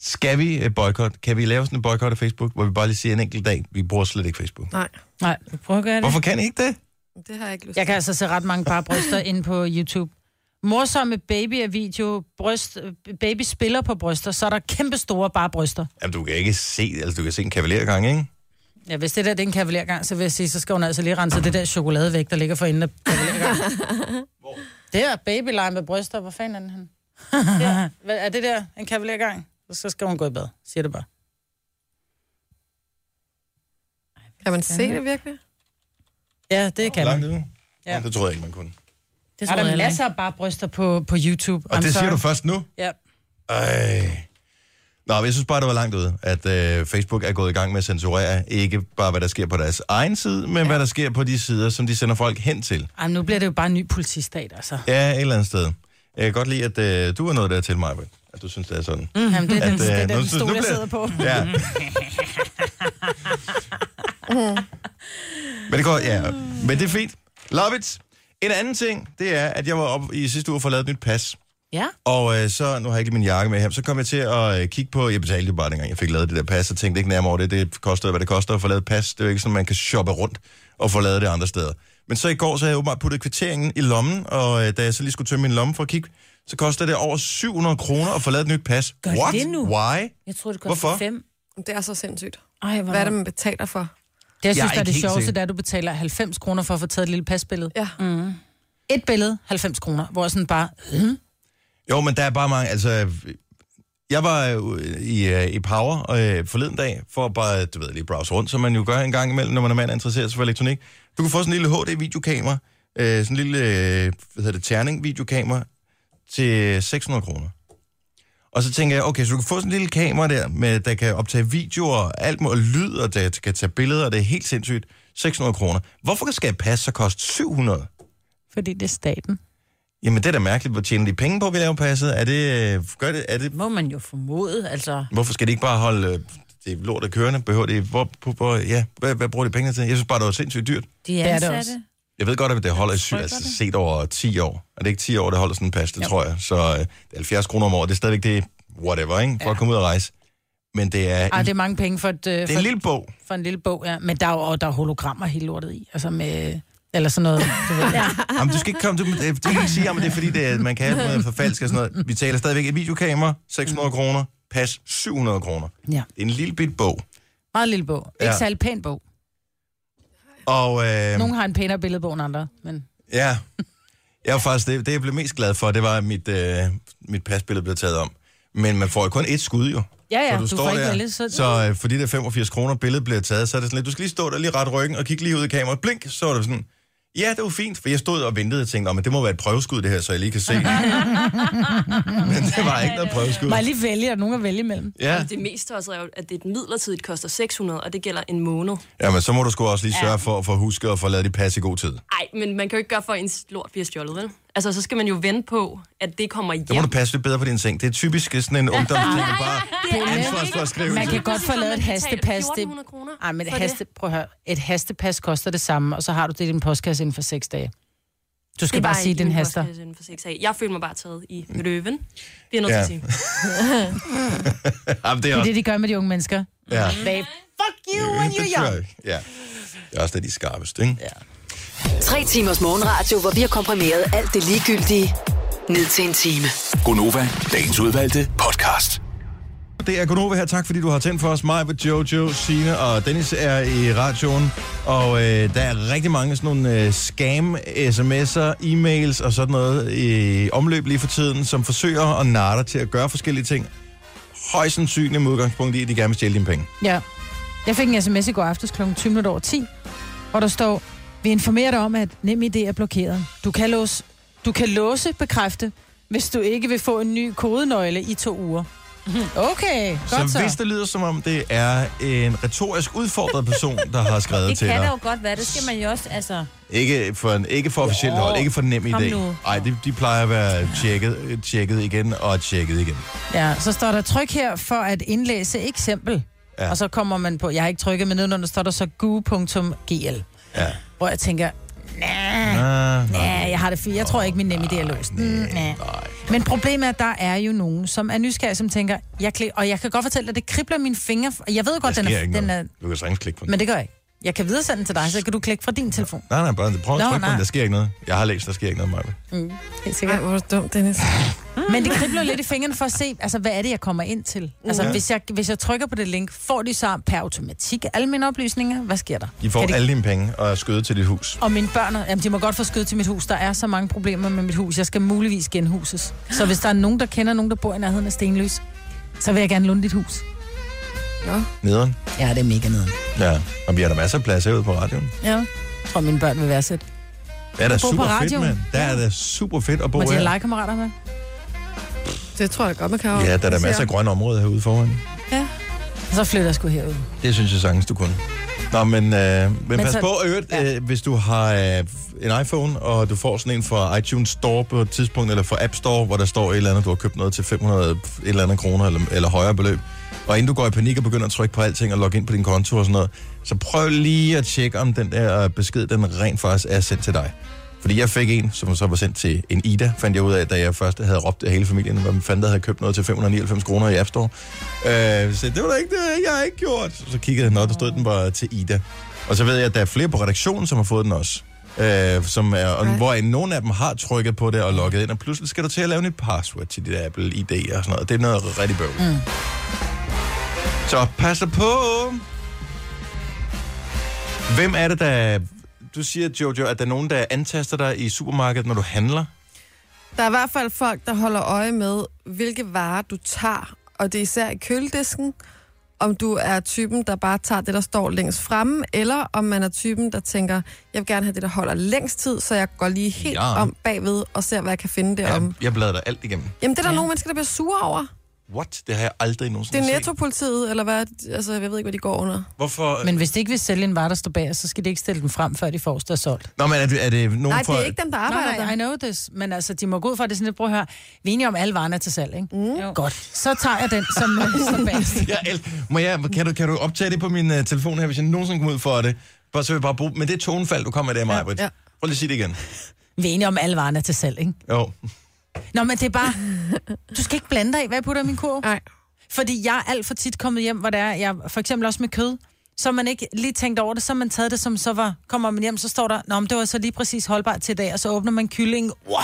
Speaker 1: Skal vi øh, boykotte? Kan vi lave sådan en boykot af Facebook, hvor vi bare lige siger en enkelt dag, vi bruger slet ikke Facebook?
Speaker 2: Nej,
Speaker 4: Nej,
Speaker 3: Vi prøver at gøre det.
Speaker 1: Hvorfor kan I ikke det?
Speaker 2: det har jeg ikke lyst
Speaker 4: jeg kan altså se ret mange bare bryster inde på YouTube. Morsomme baby-video, bryst, baby spiller på bryster, så er der kæmpe store bare bryster.
Speaker 1: Jamen, du kan ikke se, altså du kan se en kavalergang, ikke?
Speaker 4: Ja, hvis det der det er en kavalergang, så vil jeg sige, så skal hun altså lige rense det der chokolade væk, der ligger for enden af kavalergangen. det er babyleje med bryster, hvor fanden er den henne? Ja, hvad er det der en kavalergang? Så skal hun gå i bad, siger det bare.
Speaker 2: Kan man se det virkelig?
Speaker 4: Ja, det kan man.
Speaker 1: Langt ude?
Speaker 4: Ja.
Speaker 1: Ja. Det troede jeg ikke, man kunne.
Speaker 3: Det
Speaker 4: Er
Speaker 3: tror
Speaker 4: der
Speaker 3: jeg
Speaker 4: er
Speaker 3: heller ikke.
Speaker 4: masser af bare bryster på, på YouTube.
Speaker 1: Og
Speaker 4: I'm
Speaker 1: det siger
Speaker 4: sorry.
Speaker 1: du først nu?
Speaker 4: Ja.
Speaker 1: Ej. Nå, men jeg synes bare, det var langt ude, at øh, Facebook er gået i gang med at censurere, ikke bare hvad der sker på deres egen side, men ja. hvad der sker på de sider, som de sender folk hen til.
Speaker 4: Ej, men nu bliver det jo bare en ny politistat, altså.
Speaker 1: Ja, et eller andet sted. Jeg kan godt lide, at øh, du er noget der til mig, at du synes, det er sådan. Mm.
Speaker 4: Mm-hmm. Jamen, det er
Speaker 1: At,
Speaker 4: den,
Speaker 1: øh,
Speaker 4: det er
Speaker 1: nu- nu
Speaker 4: den stol,
Speaker 1: bliver-
Speaker 4: jeg sidder på.
Speaker 1: Ja. men det går, ja. Men det er fint. Love it. En anden ting, det er, at jeg var oppe i sidste uge for at lave et nyt pas.
Speaker 3: Ja.
Speaker 1: Og øh, så, nu har jeg ikke lige min jakke med her, så kom jeg til at øh, kigge på, jeg betalte jo bare dengang, jeg fik lavet det der pas, og tænkte ikke nærmere over det, det koster, hvad det koster at få lavet et pas, det er jo ikke sådan, man kan shoppe rundt og få lavet det andre steder. Men så i går, så havde jeg åbenbart puttet kvitteringen i lommen, og øh, da jeg så lige skulle tømme min lomme for at kigge, så koster det over 700 kroner at få lavet et nyt pas.
Speaker 3: Gør
Speaker 1: What?
Speaker 3: det nu?
Speaker 1: Why?
Speaker 3: Jeg tror, det
Speaker 1: Hvorfor?
Speaker 3: koster fem. Ah,
Speaker 2: Det er så sindssygt.
Speaker 3: Ej, hvor
Speaker 2: Hvad er det, man betaler for?
Speaker 4: Det, jeg synes,
Speaker 1: er
Speaker 4: der er
Speaker 1: ikke
Speaker 4: det
Speaker 1: helt
Speaker 4: sjoveste,
Speaker 1: sikker.
Speaker 4: det er, at du betaler 90 kroner for at få taget et lille pasbillede. Mm.
Speaker 2: Ja.
Speaker 4: Et billede, 90 kroner, hvor jeg sådan bare...
Speaker 1: Jo, men der er bare mange, altså... Jeg var øh, i, øh, i Power øh, forleden dag, for at bare, du ved, lige browse rundt, som man jo gør en gang imellem, når man er mand og interesserer sig for elektronik. Du kan få sådan en lille HD-videokamera, øh, sådan en lille, øh, hvad hedder det, terning-videokamera, til 600 kroner. Og så tænker jeg, okay, så du kan få sådan en lille kamera der, med, der kan optage videoer og alt muligt, og lyd, og der kan tage billeder, og det er helt sindssygt. 600 kroner. Hvorfor skal et pas så koste 700?
Speaker 4: Fordi det er staten.
Speaker 1: Jamen, det er da mærkeligt. Hvor tjener de penge på, at vi laver passet? Er det, øh, gør det, er det
Speaker 3: må man jo formode, altså.
Speaker 1: Hvorfor skal de ikke bare holde øh, det lort af kørende? Behøver de, hvor, hvor, hvor, ja, hvad, hvad bruger de pengene til? Jeg synes bare, det var sindssygt dyrt.
Speaker 3: De
Speaker 4: er det
Speaker 3: ansatte.
Speaker 4: også.
Speaker 1: Jeg ved godt, at det holder syg,
Speaker 3: frygter
Speaker 1: altså,
Speaker 3: det.
Speaker 1: set over 10 år. Er det ikke 10 år, det holder sådan en pas, det tror jeg. Så øh, det er 70 kroner om året, det er stadigvæk det, whatever, ikke? For at komme ud og rejse. Men det er,
Speaker 4: Ej,
Speaker 1: en,
Speaker 4: det er mange penge for, et, øh,
Speaker 1: det
Speaker 4: for,
Speaker 1: er en lille bog.
Speaker 4: for en lille bog, ja. Men der er jo og der er hologrammer hele lortet i. Altså med... Eller sådan noget. Du ved. ja.
Speaker 1: Jamen, du skal ikke komme til... Du kan ikke sige, at det er fordi, det er, man kan have noget forfalsk og sådan noget. Vi taler stadigvæk et videokamera, 600 kroner, pas 700 kroner.
Speaker 4: ja.
Speaker 1: Det er en lille bit bog.
Speaker 4: Meget lille bog. Ikke
Speaker 1: Ja.
Speaker 4: særlig pæn bog.
Speaker 1: Og øh,
Speaker 4: Nogle har en pænere billedbog end andre, men...
Speaker 1: ja, jeg var faktisk, det, det jeg blev mest glad for, det var, at mit, øh, mit pasbillede blev taget om. Men man får jo kun et skud, jo.
Speaker 4: Ja, ja,
Speaker 1: Så
Speaker 4: du, du får ikke vælge, så...
Speaker 1: så øh, fordi det er 85 kroner, billedet bliver taget, så er det sådan lidt, du skal lige stå der, lige ret ryggen og kigge lige ud i kameraet. Blink, så er det sådan, ja, det var fint, for jeg stod og ventede og tænkte, "Nå, men det må være et prøveskud det her, så jeg lige kan se det. men det var ikke noget prøveskud.
Speaker 4: Må jeg lige vælge, og nogen at vælge imellem?
Speaker 1: Ja,
Speaker 7: Det mest også er jo, at det er et midlertidigt koster 600, og det gælder en måned.
Speaker 1: jamen, så må du sgu også lige sørge for, for at huske at få lavet dit pas i god tid.
Speaker 7: Nej, men man kan jo ikke gøre for, at ens lort bliver stjålet, vel? Altså, så skal man jo vente på, at det kommer hjem.
Speaker 1: Så må du passe lidt bedre på din seng. Det er typisk sådan en ungdomsting, der bare
Speaker 4: Ah,
Speaker 7: er altså
Speaker 1: ansvarsforskrivelse.
Speaker 4: Man kan godt få lavet et hastepas. Det...
Speaker 7: 1400 kroner
Speaker 4: Ej, men et,
Speaker 7: for det.
Speaker 4: haste... Prøv at høre. et hastepas koster det samme, og så har du det i din postkasse inden for seks dage. Du skal
Speaker 7: Det
Speaker 4: bare
Speaker 7: var
Speaker 4: sige,
Speaker 7: ikke
Speaker 4: den
Speaker 7: min
Speaker 4: haster.
Speaker 7: postkasse inden for seks dage. Jeg føler mig bare taget i løven. Det er noget
Speaker 1: Ja.
Speaker 7: ja. til at sige.
Speaker 1: Jamen, det er
Speaker 4: Det er
Speaker 1: også...
Speaker 4: det, de gør med de unge mennesker.
Speaker 1: Ja.
Speaker 4: Babe, fuck you when
Speaker 1: Det
Speaker 4: you're
Speaker 1: tror
Speaker 4: young.
Speaker 1: jeg ikke. Ja. Det er også det, de er skarpeste, ikke?
Speaker 5: Tre timers morgenradio, hvor vi har komprimeret alt det ligegyldige ned til en time.
Speaker 6: Gonova, dagens udvalgte podcast.
Speaker 1: Det er Gunova her. Tak, fordi du har tændt for os. Mig, Jojo, Sine og Dennis er i radioen. Og øh, der er rigtig mange sådan nogle øh, scam, sms'er, e-mails og sådan noget i omløb lige for tiden, som forsøger at narre dig til at gøre forskellige ting. Højst sandsynligt med udgangspunkt i, at de gerne vil stjæle dine penge.
Speaker 4: Ja. Jeg fik en sms i går aftes kl. 20 minutter over 10, hvor der står, vi informerer dig om, at nem idé er blokeret. Du kan, låse, du kan låse bekræfte, hvis du ikke vil få en ny kodenøgle i to uger. Okay, godt
Speaker 1: så,
Speaker 4: så.
Speaker 1: hvis det lyder som om, det er en retorisk udfordret person, der har skrevet
Speaker 3: Det
Speaker 1: til
Speaker 3: kan da
Speaker 1: dig.
Speaker 3: jo godt være. Det skal man jo også, altså...
Speaker 1: Ikke for, en, ikke for officielt hold, ikke for nem
Speaker 3: kom
Speaker 1: idé.
Speaker 3: nu.
Speaker 1: Nej, de, de plejer at være tjekket, tjekket igen og tjekket igen.
Speaker 4: Ja, så står der tryk her for at indlæse eksempel.
Speaker 1: Ja.
Speaker 4: Ja. Og så kommer man på, jeg har ikke trykket, men nedenunder står der så gu.gl.
Speaker 1: Ja.
Speaker 4: Hvor jeg tænker, nej,
Speaker 1: Ah,
Speaker 4: nah, jeg har det fint. Jeg tror ikke, min nemme idé er låst. Mm, nah. Men problemet er, at der er jo nogen, som er nysgerrige, som tænker, jeg klik, og jeg kan godt fortælle dig, det kribler mine fingre. for- Jeg ved godt,
Speaker 1: der
Speaker 4: den
Speaker 1: sker
Speaker 4: er,
Speaker 1: ikke
Speaker 4: den er,
Speaker 1: noget. Du kan sagtens klikke på den. Men...
Speaker 4: men det gør jeg ikke. Jeg kan videresende den til dig, så kan du klikke fra din telefon.
Speaker 1: Nej, nej, bare prøv at
Speaker 4: Nå,
Speaker 1: trykke på den.
Speaker 4: nej.
Speaker 1: Der sker ikke noget. Jeg har læst, der sker ikke noget, Maja.
Speaker 4: Helt
Speaker 2: Ej,
Speaker 4: sikkert.
Speaker 2: hvor er du dum, Dennis.
Speaker 4: Men det kribler lidt i fingrene for at se, altså, hvad er det, jeg kommer ind til? Altså,
Speaker 1: Ja.
Speaker 4: hvis, jeg, hvis jeg trykker på det link, får de så per automatik alle mine oplysninger? Hvad sker der?
Speaker 1: I får
Speaker 4: Kan de-
Speaker 1: alle dine penge og er skøde til dit hus.
Speaker 4: Og mine børn, jamen, de må godt få skød til mit hus. Der er så mange problemer med mit hus. Jeg skal muligvis genhuses. Så hvis der er nogen, der kender nogen, der bor i nærheden af Stenløs, så vil jeg gerne låne dit hus.
Speaker 1: Nederen.
Speaker 4: Ja, det er mega nede.
Speaker 1: Ja, og vi har der masser af plads herude på radioen.
Speaker 4: Ja. Og mine børn vil være sæt.
Speaker 1: Det er da
Speaker 4: At bo på
Speaker 1: super fedt,
Speaker 4: radioen.
Speaker 1: mand. Der er da super fedt at bo
Speaker 4: Må de have
Speaker 1: her.
Speaker 4: legekammerater med?
Speaker 2: Det tror jeg godt, man kan
Speaker 1: Ja, der er der masser af grønne områder herude foran.
Speaker 4: Og så flytter jeg sgu herud.
Speaker 1: Det synes jeg sagtens, du kunne. Nå, men, øh, men, men pas
Speaker 4: så-
Speaker 1: på, øvrigt,
Speaker 4: Ja.
Speaker 1: øh, hvis du har øh, en iPhone, og du får sådan en fra iTunes Store på et tidspunkt, eller fra App Store, hvor der står et eller andet, du har købt noget til 500 et eller andet kroner, eller, eller højere beløb, og inden du går i panik og begynder at trykke på alting og logge ind på din konto og sådan noget, så prøv lige at tjekke, om den der øh, besked, den rent faktisk er sendt til dig. Fordi jeg fik en, som så var sendt til en Ida, fandt jeg ud af, da jeg først havde råbt af hele familien, hvem fanden der havde købt noget til 599 kroner i App Store. Øh, så det var da ikke det, jeg har ikke gjort. Så kiggede jeg, når der stod den bare til Ida. Og så ved jeg, at der er flere på redaktionen, som har fået den også. Øh, som er, og
Speaker 2: Ej.
Speaker 1: hvor en, nogen af dem har trykket på det og logget ind, og pludselig skal du til at lave et password til dit Apple ID og sådan noget. Det er noget rigtig bøvl. Mm. Så pas på. Hvem er det, der... Du siger, Jojo, at der er nogen, der antaster dig i supermarkedet, når du handler.
Speaker 2: Der er i hvert fald folk, der holder øje med, hvilke varer du tager, og det er især i køledisken, om du er typen, der bare tager det, der står længst fremme, eller om man er typen, der tænker, jeg vil gerne have det, der holder længst tid, så jeg går lige helt
Speaker 1: Ja.
Speaker 2: ja. om bagved og ser, hvad jeg kan finde derom.
Speaker 1: Jeg, jeg bladrer alt igennem.
Speaker 2: Jamen, det er der ja. nogle mennesker, der bliver sure over.
Speaker 1: What? Det har jeg aldrig
Speaker 2: Det
Speaker 1: nogensinde
Speaker 2: er
Speaker 1: set.
Speaker 2: nettopolitiet, eller hvad? Altså, jeg ved ikke, hvad de går under.
Speaker 1: Hvorfor? Men...
Speaker 4: Men hvis de ikke vil sælge en vare, der står bag, så skal de ikke stille den frem, før de får der er solgt.
Speaker 1: Nå, men er det, er det nogen
Speaker 2: Nej,
Speaker 1: fra...
Speaker 2: det er ikke dem, der arbejder
Speaker 4: Nej, nej, I
Speaker 2: der.
Speaker 4: know this. Men altså, de må gå ud fra, at det er sådan lidt, prøv at høre, vi er enige om, at alle varerne er til salg, ikke? Mm. Godt. Så tager jeg den, som øh, står bag.
Speaker 1: Jeg el- Må jeg, kan, du, kan du optage det på min uh, telefon her, hvis jeg nogensinde kommer ud for det? Bare, så vil jeg bare bruge... Men det er tonefald, du kommer med der, Maja. Ja,
Speaker 2: ja.
Speaker 1: Prøv lige at sige det igen.
Speaker 4: Vi er enige om, at alle varerne er til salg, ikke?
Speaker 1: Jo.
Speaker 4: Nå, men det er bare... Du skal ikke blande dig i, hvad jeg putter i min kurv.
Speaker 2: Nej.
Speaker 4: Fordi jeg er alt for tit kommet hjem, hvor der er, jeg, for eksempel også med kød, så har man ikke lige tænkt over det, så har man taget det, som så var, kommer man hjem, så står der, nå, men det var så lige præcis holdbart til i dag, og så åbner man kylling, wow,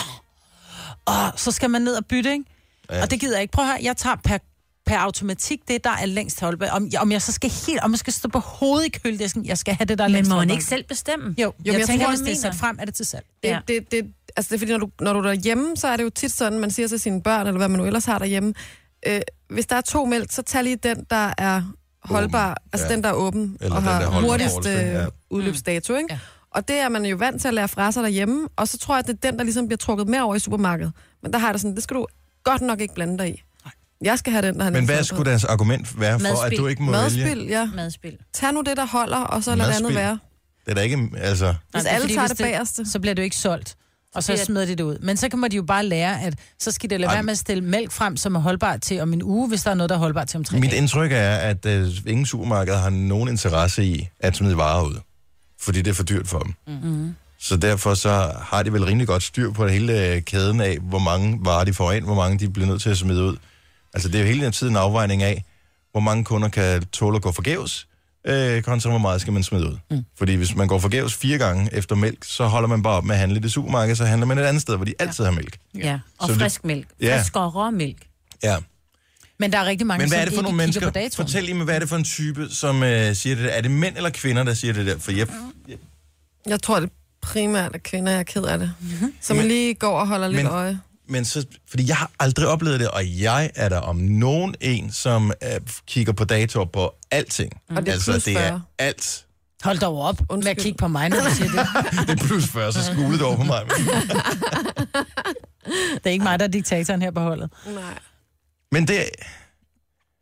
Speaker 4: og så skal man ned og bytte, ikke? Ja. Og det gider jeg ikke. Prøv at høre, jeg tager per, per automatik det, der er længst holdbart. Om, om jeg så skal helt, om jeg skal stå på hovedet i køledisken, jeg skal have det, der er
Speaker 3: Men
Speaker 4: længst
Speaker 3: må man
Speaker 4: holdbart.
Speaker 3: ikke selv bestemme?
Speaker 4: Jo, jo jeg,
Speaker 2: jeg
Speaker 4: jeg tænker,
Speaker 2: tror,
Speaker 4: hvis
Speaker 3: han
Speaker 4: det er sat
Speaker 3: mener-
Speaker 4: frem, er det til salg.
Speaker 2: Det,
Speaker 3: Ja.
Speaker 2: ja. det, det, altså det er fordi, når du, når du er derhjemme, så er det jo tit sådan, man siger til sine børn, eller hvad man nu ellers har derhjemme, øh, hvis der er to mælk, så tag lige den, der er
Speaker 1: Åben,
Speaker 2: holdbar, åben. altså
Speaker 1: ja.
Speaker 2: ja. den, der er åben,
Speaker 1: Eller
Speaker 2: og
Speaker 1: den,
Speaker 2: har
Speaker 1: der holder
Speaker 2: hurtigst
Speaker 1: forholdsvis,
Speaker 2: øh,
Speaker 1: ja.
Speaker 2: ja. udløbsdato, ikke?
Speaker 4: Ja.
Speaker 2: Ja. Og det er man jo vant til at lære fra sig derhjemme, og så tror jeg, at det er den, der ligesom bliver trukket mere over i supermarkedet. Men der har jeg det sådan, det skal du godt nok ikke blande dig i. Jeg skal have den, der har
Speaker 1: Men hvad
Speaker 2: længst
Speaker 1: skulle deres argument være for, at
Speaker 3: Madspild.
Speaker 1: du ikke må vælge?
Speaker 2: Madspil, ja.
Speaker 3: Madspil.
Speaker 2: Tag nu det, der holder, og så lad det andet
Speaker 1: Madspild.
Speaker 2: være.
Speaker 1: Det er da ikke, altså...
Speaker 2: Hvis
Speaker 4: det er
Speaker 2: alle
Speaker 4: fordi,
Speaker 2: tager
Speaker 4: hvis
Speaker 2: det bagerste.
Speaker 4: Så bliver det jo ikke solgt. Og så
Speaker 3: bliver-
Speaker 4: smider de det ud. Men så kan man de jo bare lære, at så skal det lade
Speaker 1: Ej,
Speaker 4: være med at stille mælk frem, som er holdbart til om en uge, hvis der er noget, der er holdbart til om tre
Speaker 1: Mit
Speaker 4: dage.
Speaker 1: indtryk er, at øh, ingen supermarked har nogen interesse i at smide varer ud, fordi det er for dyrt for dem. Mm-hmm.
Speaker 3: Mm.
Speaker 1: Så derfor så har de vel rimelig godt styr på hele øh, kæden af, hvor mange varer de får ind, hvor mange de bliver nødt til at smide ud. Altså det er jo hele tiden en afvejning af, hvor mange kunder kan tåle at gå forgæves, øh, kontra hvor meget skal man smide ud. Mm. Fordi hvis man går forgæves fire gange efter mælk, så holder man bare op med at handle i det supermarked, så handler man et andet sted, hvor de altid har mælk.
Speaker 3: Ja, og
Speaker 1: Så det-
Speaker 3: frisk mælk.
Speaker 1: Ja.
Speaker 3: Frisk og råmælk.
Speaker 1: Ja.
Speaker 4: Men der er rigtig mange,
Speaker 1: Men hvad
Speaker 4: som
Speaker 1: er det for
Speaker 4: ikke
Speaker 1: nogle
Speaker 4: kigger
Speaker 1: mennesker?
Speaker 4: på datoen.
Speaker 1: Fortæl lige mig, hvad er det for en type, som øh, siger det der? Er det mænd eller kvinder, der siger det der? For
Speaker 4: Mm.
Speaker 1: jeg,
Speaker 2: Jeg tror, det primært er kvinder, jeg er ked af det. Så man lige går og holder lidt
Speaker 1: Men-
Speaker 2: øje.
Speaker 1: men så, fordi jeg har aldrig oplevet det, og jeg er der om nogen en, som øh, kigger på datoer på alting.
Speaker 2: Og det er
Speaker 1: altså,
Speaker 2: plus
Speaker 1: det er
Speaker 2: 40.
Speaker 1: alt.
Speaker 4: Hold dog op med at
Speaker 2: Undskyld.
Speaker 4: kigge på mig, når du siger det.
Speaker 1: Det er plus 40, så skule det over på mig.
Speaker 4: Det er ikke mig, der er diktatoren her på holdet.
Speaker 2: Nej.
Speaker 1: Men det,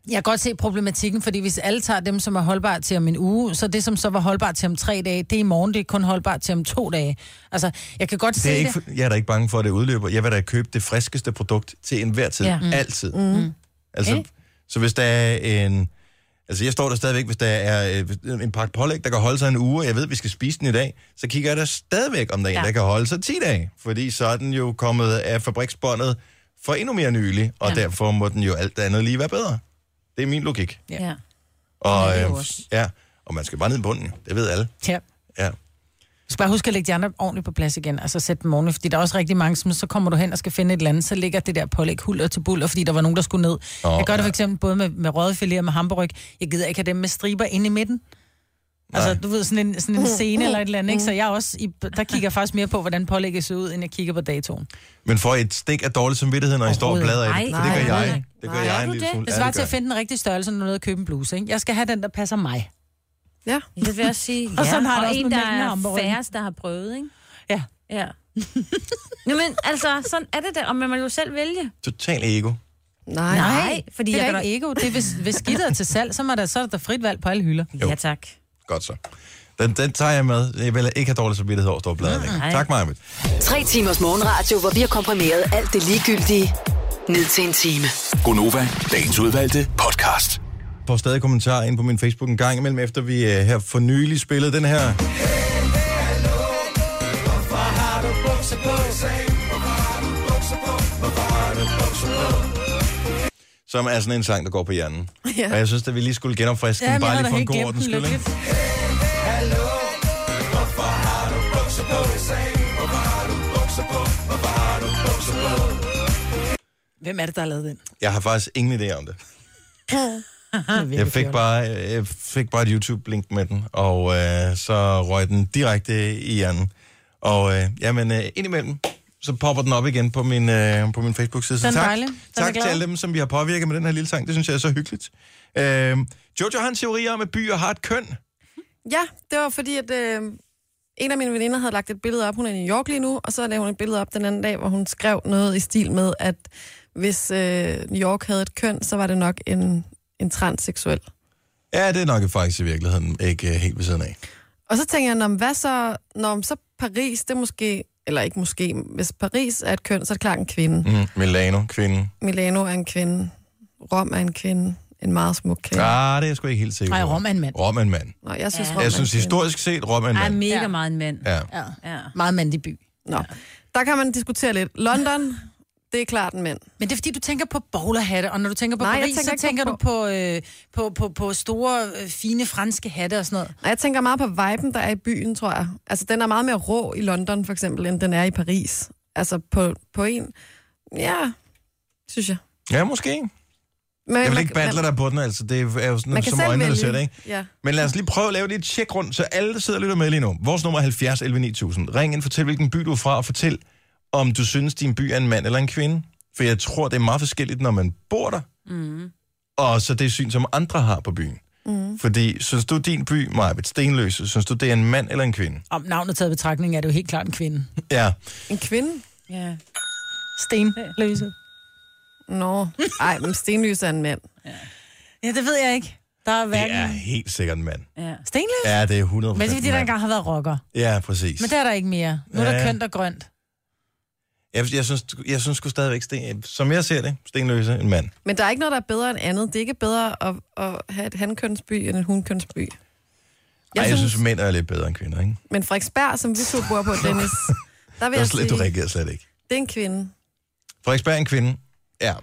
Speaker 4: Jeg kan godt se problematikken, fordi hvis alle tager dem, som er holdbart til om en uge, så det, som så var holdbart til om tre dage, det er i morgen, det er kun holdbart til om to dage. Altså, jeg kan godt se
Speaker 1: det er
Speaker 4: det.
Speaker 1: ikke, for- jeg er da ikke bange for, at det udløber. Jeg vil da købe det friskeste produkt til enhver tid.
Speaker 4: Ja.
Speaker 1: Ja.
Speaker 4: Mm.
Speaker 1: Altid. Mm. Altså,
Speaker 4: Ikke?
Speaker 1: så hvis der er en... Altså, jeg står der stadigvæk, hvis der er øh, en pakke pålæg, der kan holde sig en uge, og jeg ved, at vi skal spise den i dag, så kigger jeg der stadigvæk, om der er en,
Speaker 3: Ja.
Speaker 1: der kan holde sig 10 dage. Fordi så er den jo kommet af fabriksbåndet for endnu mere nylig, og ja. derfor må den jo alt andet lige være bedre. Det er min logik.
Speaker 4: Ja.
Speaker 3: Ja.
Speaker 1: Og,
Speaker 3: det er
Speaker 1: øh,
Speaker 3: jo også.
Speaker 1: ja, og man skal bare ned i bunden. Det ved alle.
Speaker 4: Ja.
Speaker 1: Ja.
Speaker 4: Du skal bare huske at lægge de andre ordentligt på plads igen, altså sætte dem ordentligt, fordi der er også rigtig mange, som så kommer du hen og skal finde et eller andet, så ligger det der pålæg huller til buller, fordi der var nogen, der skulle ned. Oh, jeg gør det for eksempel både med, med rødfilet og med hamburg. Jeg gider ikke have dem med striber inde i midten. Altså,
Speaker 1: Nej.
Speaker 4: du ved, sådan en, sådan en scene eller et eller andet, ikke? Så jeg er også i, der kigger jeg faktisk mere på, hvordan pålægget ser ud, end jeg kigger på datoen.
Speaker 1: Men får I et stik af dårlig samvittighed, når I står og
Speaker 4: Overhovedet.
Speaker 1: bladrer i det? For det
Speaker 3: Nej,
Speaker 1: gør
Speaker 3: nej,
Speaker 1: jeg.
Speaker 3: nej.
Speaker 1: Det gør
Speaker 3: Nej.
Speaker 1: jeg
Speaker 3: Gør
Speaker 1: en
Speaker 3: du
Speaker 1: lille
Speaker 3: det?
Speaker 1: smule.
Speaker 4: Det
Speaker 1: Ja,
Speaker 4: svarer til
Speaker 1: gør
Speaker 4: at finde den rigtige størrelse, når du er nede og købe en bluse, ikke? Jeg skal have den, der passer mig.
Speaker 2: Ja.
Speaker 3: Det vil jeg sige, ja.
Speaker 4: Og sådan har det
Speaker 3: og
Speaker 4: også
Speaker 3: en,
Speaker 4: med
Speaker 3: der
Speaker 4: mælken og
Speaker 3: er
Speaker 4: hamburgeren.
Speaker 3: færrest, der har prøvet, ikke?
Speaker 4: Ja.
Speaker 3: Ja. Nå, men altså, sådan er det der, og man må jo selv vælge.
Speaker 1: jeg. Total ego.
Speaker 2: Nej. Nej.
Speaker 3: Nej, fordi
Speaker 4: det
Speaker 3: jeg
Speaker 4: er
Speaker 3: kan
Speaker 4: da ikke ego. Det er, hvis, hvis skidtet er til salg, så, må der, så er der frit valg på alle hylder.
Speaker 1: Jo.
Speaker 3: Ja, tak.
Speaker 1: Godt så. Den, den tager jeg med. Jeg vil ikke have dårlig samvittighed over at stå og bladre. væk. Tak, Marvitt.
Speaker 5: Tre timers morgenradio, hvor vi har komprimeret alt det ligegyldige ned til en time.
Speaker 6: Gonova, dagens udvalgte podcast.
Speaker 1: Får stadig kommentarer ind på min Facebook en gang imellem, efter vi øh, her for nylig spillede den her. Som er sådan en sang, der går på hjernen.
Speaker 2: Ja.
Speaker 1: Og jeg synes, at vi lige skulle genopfriske den, bare lige for en god ordens skyld. ikke?
Speaker 4: Hvem er det, der har lavet den?
Speaker 1: Jeg har faktisk ingen idé om det. Jeg fik bare, jeg fik bare et YouTube-link med den, og øh, så røg den direkte i hjernen. Og øh, jamen, øh, indimellem, så popper den op igen på min, øh, på min Facebook-side. Så
Speaker 4: Den er
Speaker 1: tak,
Speaker 4: dejlig. Den er
Speaker 1: tak
Speaker 4: glad.
Speaker 1: til alle dem, som vi har påvirket med den her lille sang. Det synes jeg er så hyggeligt. Øh, Jojo har en teori om, at byer har et køn.
Speaker 2: Ja, det var fordi, at øh, en af mine veninder havde lagt et billede op. Hun er i New York lige nu, og så lavede hun et billede op den anden dag, hvor hun skrev noget i stil med, at hvis øh, New York havde et køn, så var det nok en, en transseksuel.
Speaker 1: Ja, det er nok faktisk i virkeligheden ikke øh, helt ved siden af.
Speaker 2: Og så tænker jeg, når, hvad så, når så Paris, det er måske, eller ikke måske, hvis Paris er et køn, så er det klart en kvinde. Mm.
Speaker 1: Mm, Milano, kvinde.
Speaker 2: Milano er en kvinde. Rom er en kvinde. En meget smuk kvinde. Ja.
Speaker 1: Ah, det er jeg sgu ikke helt sikker på.
Speaker 4: Nej, Rom er en mand.
Speaker 1: Rom er en mand.
Speaker 2: Nå, jeg synes, ja.
Speaker 1: Jeg synes historisk set, Rom er en
Speaker 3: Jeg er
Speaker 1: mand.
Speaker 3: mega
Speaker 4: Ja.
Speaker 3: meget en mand.
Speaker 1: Ja.
Speaker 4: Ja.
Speaker 3: Ja.
Speaker 4: Meget mandig by.
Speaker 2: Nå, der kan man diskutere lidt. London, Det er klart en mand.
Speaker 4: Men det er fordi, du tænker på bowlerhatte, og når du tænker på Nej,
Speaker 2: Nej, jeg
Speaker 4: Paris,
Speaker 2: tænker
Speaker 4: tænker så
Speaker 2: ikke
Speaker 4: tænker
Speaker 2: på
Speaker 4: du på, øh, på, på, på store, øh, fine franske hatte og sådan noget.
Speaker 2: Og jeg tænker meget på viben, der er i byen, tror jeg. Altså, den er meget mere rå i London, for eksempel, end den er i Paris. Altså, på, på en... Ja, synes jeg.
Speaker 1: Ja, måske.
Speaker 2: Men,
Speaker 1: Jeg vil
Speaker 2: man-
Speaker 1: ikke battle
Speaker 2: man-
Speaker 1: dig på den, altså. Det er jo sådan,
Speaker 2: Man kan
Speaker 1: som
Speaker 2: selv
Speaker 1: øjnene der
Speaker 2: vælge.
Speaker 1: ser det, ikke?
Speaker 2: Ja.
Speaker 1: Men lad os lige prøve at lave lige et tjek rundt, så alle, der sidder og lytter med lige nu. Vores nummer er 70 11 9000. Ring ind, fortæl, hvilken by du er fra, og fortæl, om du synes, din by er en mand eller en kvinde. For jeg tror, det er meget forskelligt, når man bor der. Mm. Og så det syn, som andre har på byen. Mm. Fordi, synes du, din by, Majbet Stenløse, synes du, det er en mand eller en kvinde?
Speaker 4: Om navnet taget i betragtning er det jo helt klart en kvinde.
Speaker 1: Ja.
Speaker 2: En kvinde?
Speaker 3: Ja.
Speaker 4: Stenløse.
Speaker 2: Nå. Ej, men Stenløs er en mand.
Speaker 4: Ja, det ved jeg ikke. Der er
Speaker 1: Det
Speaker 4: hverken...
Speaker 1: er helt sikkert en mand.
Speaker 3: ja.
Speaker 4: Stenløse?
Speaker 1: Ja, det er 100
Speaker 4: Men det er fordi, der engang har været rocker.
Speaker 1: Ja, præcis.
Speaker 4: Men det er der ikke mere. Nu er
Speaker 1: Ja,
Speaker 4: der
Speaker 1: ja.
Speaker 4: kønt og grønt.
Speaker 1: Jeg, jeg, synes, jeg synes sgu stadigvæk, sten, som jeg ser det, Stenløse, en mand.
Speaker 2: Men der er ikke noget, der er bedre end andet. Det er ikke bedre at, at have et handkønsby end en hundkønsby. Jeg
Speaker 1: Ej, jeg synes, mænd er lidt bedre end kvinder, ikke?
Speaker 2: Men Frederiksberg, som vi to bor på, Dennis, der vil
Speaker 1: Det er
Speaker 2: jeg
Speaker 1: slet, du
Speaker 2: sige,
Speaker 1: reagerer slet ikke.
Speaker 2: det er en kvinde.
Speaker 1: Frederiksberg er en kvinde. Ja.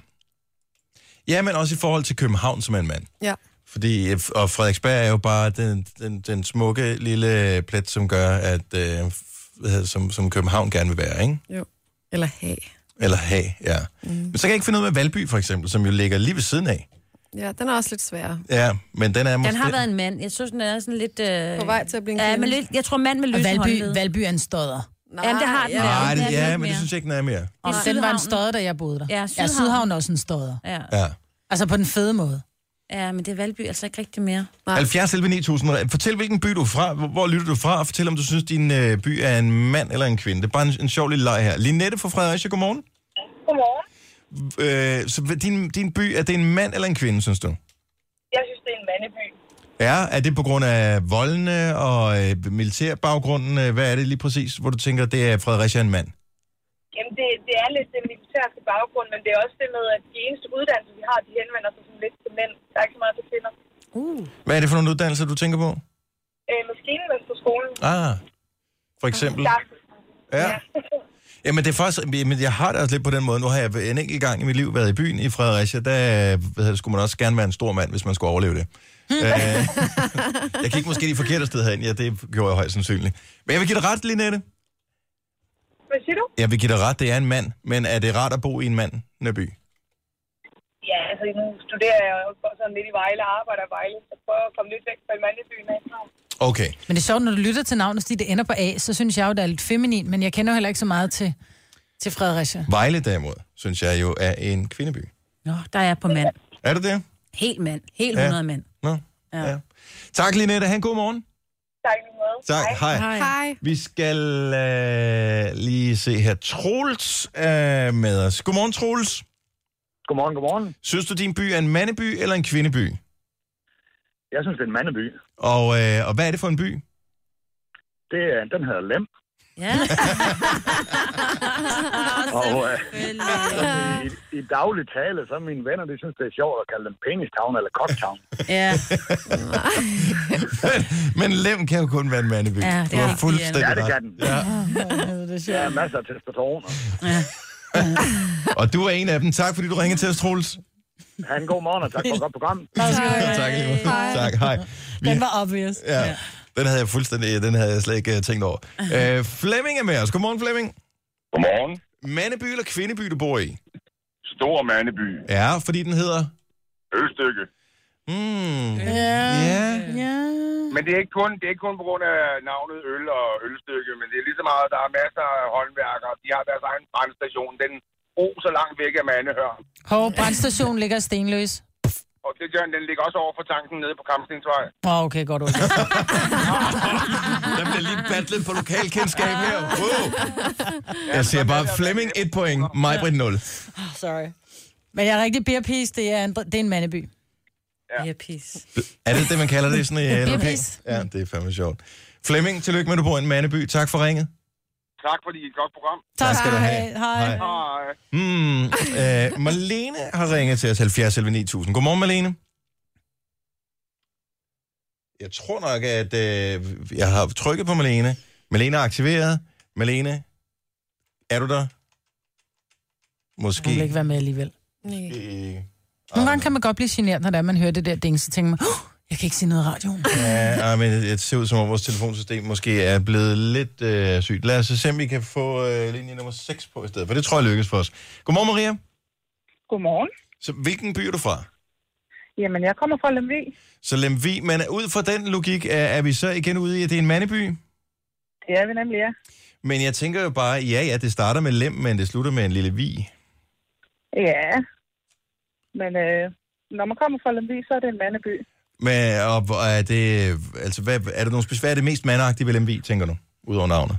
Speaker 1: Ja, men også i forhold til København, som er en mand.
Speaker 2: Ja.
Speaker 1: Fordi, og Frederiksberg er jo bare den, den, den smukke lille plet, som gør, at øh, hvad hedder det, som, som København gerne vil være, ikke?
Speaker 2: Jo. Eller have.
Speaker 1: Eller have, ja. Mm. Men så kan jeg ikke finde ud af Valby, for eksempel, som jo ligger lige ved siden af.
Speaker 2: Ja, den er også lidt sværere.
Speaker 1: Ja, men den er måske...
Speaker 3: Den har været en mand. Jeg synes, den er sådan lidt... Øh...
Speaker 2: På vej til at blive en
Speaker 3: Ja,
Speaker 2: kvinde.
Speaker 3: men lidt, jeg tror, mand med
Speaker 4: Og
Speaker 3: løse
Speaker 4: Valby,
Speaker 3: håndled.
Speaker 4: Valby er en stodder.
Speaker 2: Nej,
Speaker 3: Jamen, det har den været.
Speaker 1: Nej,
Speaker 3: Ja,
Speaker 1: det,
Speaker 3: den er
Speaker 1: ja,
Speaker 3: lidt
Speaker 1: men det
Speaker 3: mere.
Speaker 1: synes jeg ikke, den er mere.
Speaker 4: Og
Speaker 3: Nej.
Speaker 4: den var en
Speaker 3: Sydhavnen.
Speaker 4: stodder, da jeg boede der.
Speaker 3: Ja,
Speaker 4: ja
Speaker 3: Sydhavn.
Speaker 4: Sydhavn er også en stodder.
Speaker 3: Ja.
Speaker 1: Ja.
Speaker 4: Altså på den fede måde.
Speaker 3: ja, men det er Valby altså ikke rigtig mere.
Speaker 2: Nej.
Speaker 1: 70 11 9000. Fortæl, hvilken by du er fra. Hvor, hvor lytter du fra? Og fortæl, om du synes, din øh, by er en mand eller en kvinde. Det er bare en, en sjov lille leg her. Linette fra Fredericia, godmorgen.
Speaker 8: Godmorgen.
Speaker 1: Øh, så hvad- din, din by, er det en mand eller en kvinde, synes du?
Speaker 8: Jeg synes, det er en mandeby.
Speaker 1: Ja, er det på grund af voldene og øh, militærbaggrunden? Øh, hvad er det lige præcis, hvor du tænker, det er Fredericia en mand?
Speaker 8: Jamen, det, det er lidt det militærske baggrund, men det er også det med, at de eneste uddannelser, vi har, de henvender sig sådan lidt til mænd. Der er ikke så meget til kvinder.
Speaker 1: Hvad er det for nogle uddannelser, du tænker på?
Speaker 8: Øh, maskinen på skolen.
Speaker 1: Ah, for eksempel?
Speaker 8: Der,
Speaker 1: Ja. Jamen, det er faktisk, men jeg har det også lidt på den måde. Nu har jeg en enkelt gang i mit liv været i byen i Fredericia. Der øh, hvad hedder det, skulle man også gerne være en stor mand, hvis man skulle overleve det. øh, jeg gik måske de forkerte steder hen. Ja, det gjorde jeg højst sandsynligt. Men jeg vil give dig ret, Linette.
Speaker 8: hvad siger du?
Speaker 1: Jeg vil give dig ret, det er en mand. Men er det rart at bo i en mand, by?
Speaker 8: Ja, altså nu studerer jeg og går sådan lidt i Vejle og arbejder i Vejle, så prøver at komme lidt væk fra mandebyen af.
Speaker 1: Okay.
Speaker 4: Men det er sjovt, når du lytter til navnet, fordi det ender på A, så synes jeg jo, det er lidt feminin, men jeg kender jo heller ikke så meget til, til Fredericia.
Speaker 1: Vejle derimod, synes jeg jo, er en kvindeby.
Speaker 3: Nå, der er jeg på mand.
Speaker 1: Er det det?
Speaker 3: Helt mand. Helt
Speaker 1: Ja.
Speaker 3: 100 mand.
Speaker 1: Nå. Ja. ja. Tak, Linette. Ha' en god morgen.
Speaker 8: Tak i lige måde.
Speaker 1: Tak.
Speaker 8: Hej.
Speaker 1: Hej.
Speaker 3: Hej.
Speaker 2: Hej.
Speaker 1: Vi skal øh, lige se her. Troels er med os. Godmorgen, Troels.
Speaker 9: Godmorgen, godmorgen.
Speaker 1: Synes du, din by er en mandeby eller en kvindeby?
Speaker 9: Jeg synes, det er en mandeby.
Speaker 1: Og, øh, og hvad er det for en by?
Speaker 9: Det er, den hedder Lem.
Speaker 3: Ja.
Speaker 9: Og øh, i, i daglig tale, så mine venner, de synes, det er sjovt at kalde dem Penistown eller Cocktown.
Speaker 3: ja.
Speaker 1: Men Lem kan jo kun være en mandeby.
Speaker 3: Ja, det
Speaker 1: du
Speaker 3: er
Speaker 1: har
Speaker 3: rigtigt,
Speaker 1: fuldstændig
Speaker 9: Ja, det
Speaker 1: ret.
Speaker 9: kan den.
Speaker 1: Ja.
Speaker 9: Der er masser af testosteroner.
Speaker 1: Og du er en af dem. Tak, fordi du ringede til os, Troels.
Speaker 9: Ha' en god morgen, og tak for et godt program.
Speaker 1: Hej. Tak, lige måde. tak. Hej. Vi,
Speaker 4: Den var obvious.
Speaker 1: ja, den havde jeg fuldstændig, den havde jeg slet ikke uh, tænkt over. Uh, Flemming er med os. Godmorgen, Flemming.
Speaker 10: Godmorgen.
Speaker 1: Mandeby eller kvindeby, du bor i?
Speaker 10: Stor Mandeby.
Speaker 1: Ja, fordi den hedder...
Speaker 10: Ølstykke.
Speaker 1: Mm.
Speaker 4: Ja.
Speaker 1: Ja.
Speaker 4: ja.
Speaker 10: Men det er, ikke kun, det er ikke kun på grund af navnet øl og ølstykke, men det er lige så meget, der er masser af håndværkere. De har deres egen brandstation. Den bro så langt væk af Mandehør.
Speaker 4: Hov, brandstationen ligger i stenløs.
Speaker 10: Og det gør den, den ligger også over for tanken nede på Kampstensvej.
Speaker 4: Åh, oh, okay, godt ord.
Speaker 1: Der bliver lige battlet på lokalkendskab her. Wow. Jeg siger bare, Flemming 1 point, Majbrit 0.
Speaker 4: Sorry. Men jeg er rigtig beerpis, det er en, det er en mandeby.
Speaker 3: Ja, pis.
Speaker 1: Er det det, man kalder det sådan i øh, lokal?
Speaker 4: pis.
Speaker 1: Ja, det er fandme sjovt. Flemming, tillykke med, at du bor i en mandeby. Tak for ringet.
Speaker 10: Tak fordi I er et godt program.
Speaker 1: Tak skal du have.
Speaker 4: Hej. Hej.
Speaker 10: Hej.
Speaker 1: Hmm, øh, Marlene har ringet til os 70 11 9000. Godmorgen, Marlene. Jeg tror nok, at øh, jeg har trykket på Marlene. Marlene er aktiveret. Marlene, er du der? Måske.
Speaker 4: Hun vil ikke være med alligevel.
Speaker 1: Nej.
Speaker 4: Nogle gange kan man godt blive generet, når det er, man hører det der ding, så tænker man, oh, jeg kan ikke se noget i radioen.
Speaker 1: Ja, ej, men det ser ud som om vores telefonsystem måske er blevet lidt øh, sygt. Lad os se, om vi kan få øh, linje nummer 6 på i stedet, for det tror jeg lykkes for os. Godmorgen, Maria.
Speaker 11: Godmorgen.
Speaker 1: Så, hvilken by er du fra?
Speaker 11: Jamen, jeg kommer fra Lemvig.
Speaker 1: Så Lemvi, men ud fra den logik er, er vi så igen ude i, at det er en mandeby?
Speaker 11: Det er vi nemlig, ja.
Speaker 1: Men jeg tænker jo bare, ja, ja, det starter med lem, men det slutter med en lille vi.
Speaker 11: Ja. Men øh, når man kommer fra Lemvig, så er det en mandeby.
Speaker 1: Men og, hvor er det, altså, hvad, er det nogle specif- hvad er det mest mandagtige ved Lemvi, tænker du, udover navnet?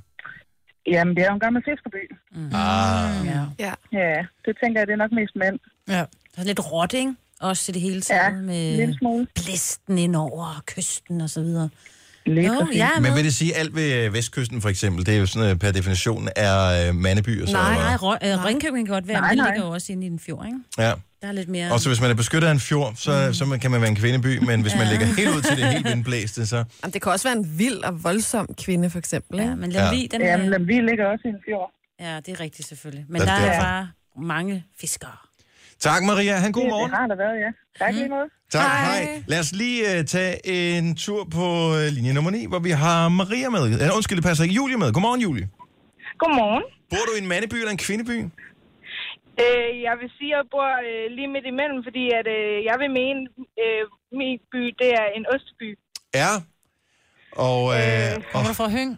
Speaker 11: Jamen, det er jo en gammel fiskerby. Mm.
Speaker 1: Ah.
Speaker 11: Ja. ja. Ja, det tænker jeg, det er nok mest mænd.
Speaker 4: Ja.
Speaker 3: Der er lidt råt, ikke? Også i det hele taget ja, med
Speaker 11: lille smule.
Speaker 3: blæsten ind over og kysten og så videre.
Speaker 11: Lidt
Speaker 3: jo, jeg er
Speaker 1: Men
Speaker 3: med.
Speaker 1: vil det sige, at alt ved øh, Vestkysten for eksempel, det er jo sådan øh, per definition er øh, mandebyer? Så,
Speaker 3: Nej, nej, Rø- øh, Ringkøbing kan godt være,
Speaker 11: Nej,
Speaker 3: men det
Speaker 11: nej.
Speaker 3: ligger jo også inde i den fjord, ikke?
Speaker 1: Ja.
Speaker 3: Der er lidt mere...
Speaker 1: Og så hvis man er beskyttet af en fjord, så, mm. så man- kan man være en kvindeby, men hvis man
Speaker 3: Ja.
Speaker 1: ligger helt ud til det helt vindblæste, så...
Speaker 2: Jamen, det kan også være en vild og voldsom kvinde, for eksempel. Ikke?
Speaker 3: Ja, men
Speaker 1: Ja. Lemvig,
Speaker 3: den
Speaker 2: øh,
Speaker 11: Jamen, Lemvig ligger også i en fjord.
Speaker 3: Ja, det er rigtigt selvfølgelig. Men
Speaker 1: Ja,
Speaker 3: der er
Speaker 1: derfor.
Speaker 3: bare mange fiskere.
Speaker 1: Tak Maria, han god morgen.
Speaker 11: Det har der været, ja. Tak lige måde.
Speaker 1: Tak, hej. hej. Lad os lige uh, tage en tur på uh, linje nummer 9, hvor vi har Maria med. Eller, undskyld, det passer ikke. Julie med. Godmorgen, Julie.
Speaker 12: Godmorgen.
Speaker 1: Bor du i en mandeby eller en kvindeby?
Speaker 12: Øh, jeg vil sige, at jeg bor øh, lige midt imellem, fordi at, øh, jeg vil mene, øh, min by det er en ostby.
Speaker 1: Ja. Og, uh, og
Speaker 4: Kommer du fra Høng?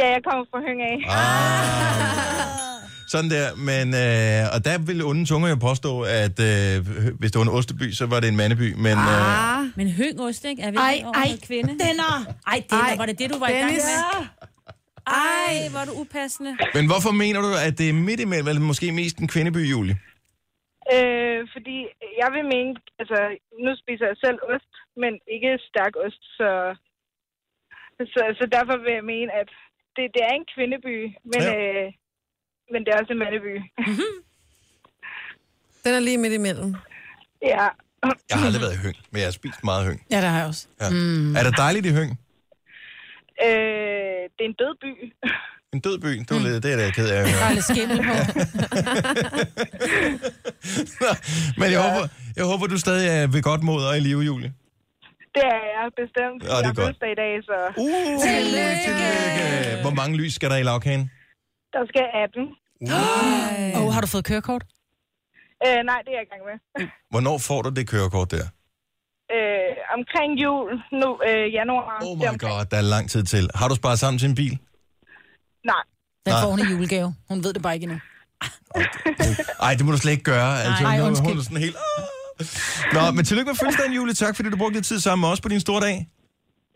Speaker 12: Ja, jeg kommer fra Høng af.
Speaker 1: Ah. sådan der. Men, uh, og der ville onde tunger jo påstå, at uh, hvis det var en osteby, så var det en mandeby. Men, uh,
Speaker 2: Ah.
Speaker 3: Men øh, høngost, ikke? Er vi
Speaker 4: Ej,
Speaker 3: ej, over ej, kvinde?
Speaker 4: Denner!
Speaker 3: Ej, det
Speaker 2: Ej,
Speaker 3: var det det, du var i gang
Speaker 2: Dennis.
Speaker 3: med? Ej, hvor er du upassende.
Speaker 1: men hvorfor mener du, at det er midt imellem, eller måske mest en kvindeby, Julie?
Speaker 12: Øh, fordi jeg vil mene, altså nu spiser jeg selv ost, men ikke stærk ost, så, så, så derfor vil jeg mene, at det, det er en kvindeby, men,
Speaker 1: Ja.
Speaker 12: ja. øh, men det er også en mandeby.
Speaker 4: Mm-hmm.
Speaker 2: Den er lige midt imellem.
Speaker 12: ja.
Speaker 1: Jeg har aldrig været i høng, men jeg har spist meget høng.
Speaker 4: Ja, der har jeg også.
Speaker 1: Ja. Mm. Er det dejligt i høng?
Speaker 12: Øh, det er en død by.
Speaker 1: En død by, det, var lidt, det er da jeg ked af at høre.
Speaker 4: Der er lidt skimmel på.
Speaker 1: Men jeg, håber, jeg håber, du stadig er ved godt mod og i live, Julie.
Speaker 12: Det er jeg bestemt.
Speaker 1: Ja, det er
Speaker 12: jeg
Speaker 1: godt.
Speaker 12: fødselsdag i dag, så
Speaker 1: Uh, tillykke! Øh, Hvor mange lys skal der i lavkagen?
Speaker 12: der skal 18.
Speaker 1: Uh.
Speaker 4: Åh, oh, har du fået kørekort?
Speaker 12: Øh, nej, det er jeg i gang med.
Speaker 1: Hvornår får du det kørekort der?
Speaker 12: Øh, omkring jul, nu øh, januar.
Speaker 1: Oh
Speaker 12: Det er
Speaker 1: my
Speaker 12: omkring-
Speaker 1: god, der er lang tid til. Har du sparet sammen til en bil?
Speaker 12: Nej,
Speaker 4: Den
Speaker 1: Nej.
Speaker 4: får hun i julegave. Hun ved det bare ikke endnu.
Speaker 1: Ej, det må du slet ikke gøre. Altså,
Speaker 4: Nej,
Speaker 1: nu er
Speaker 4: undskyld.
Speaker 1: hun er sådan helt... "Ah." Nå, men tillykke med fødselsdagen, Julie. Tak, fordi du brugte lidt tid sammen med os på din store dag.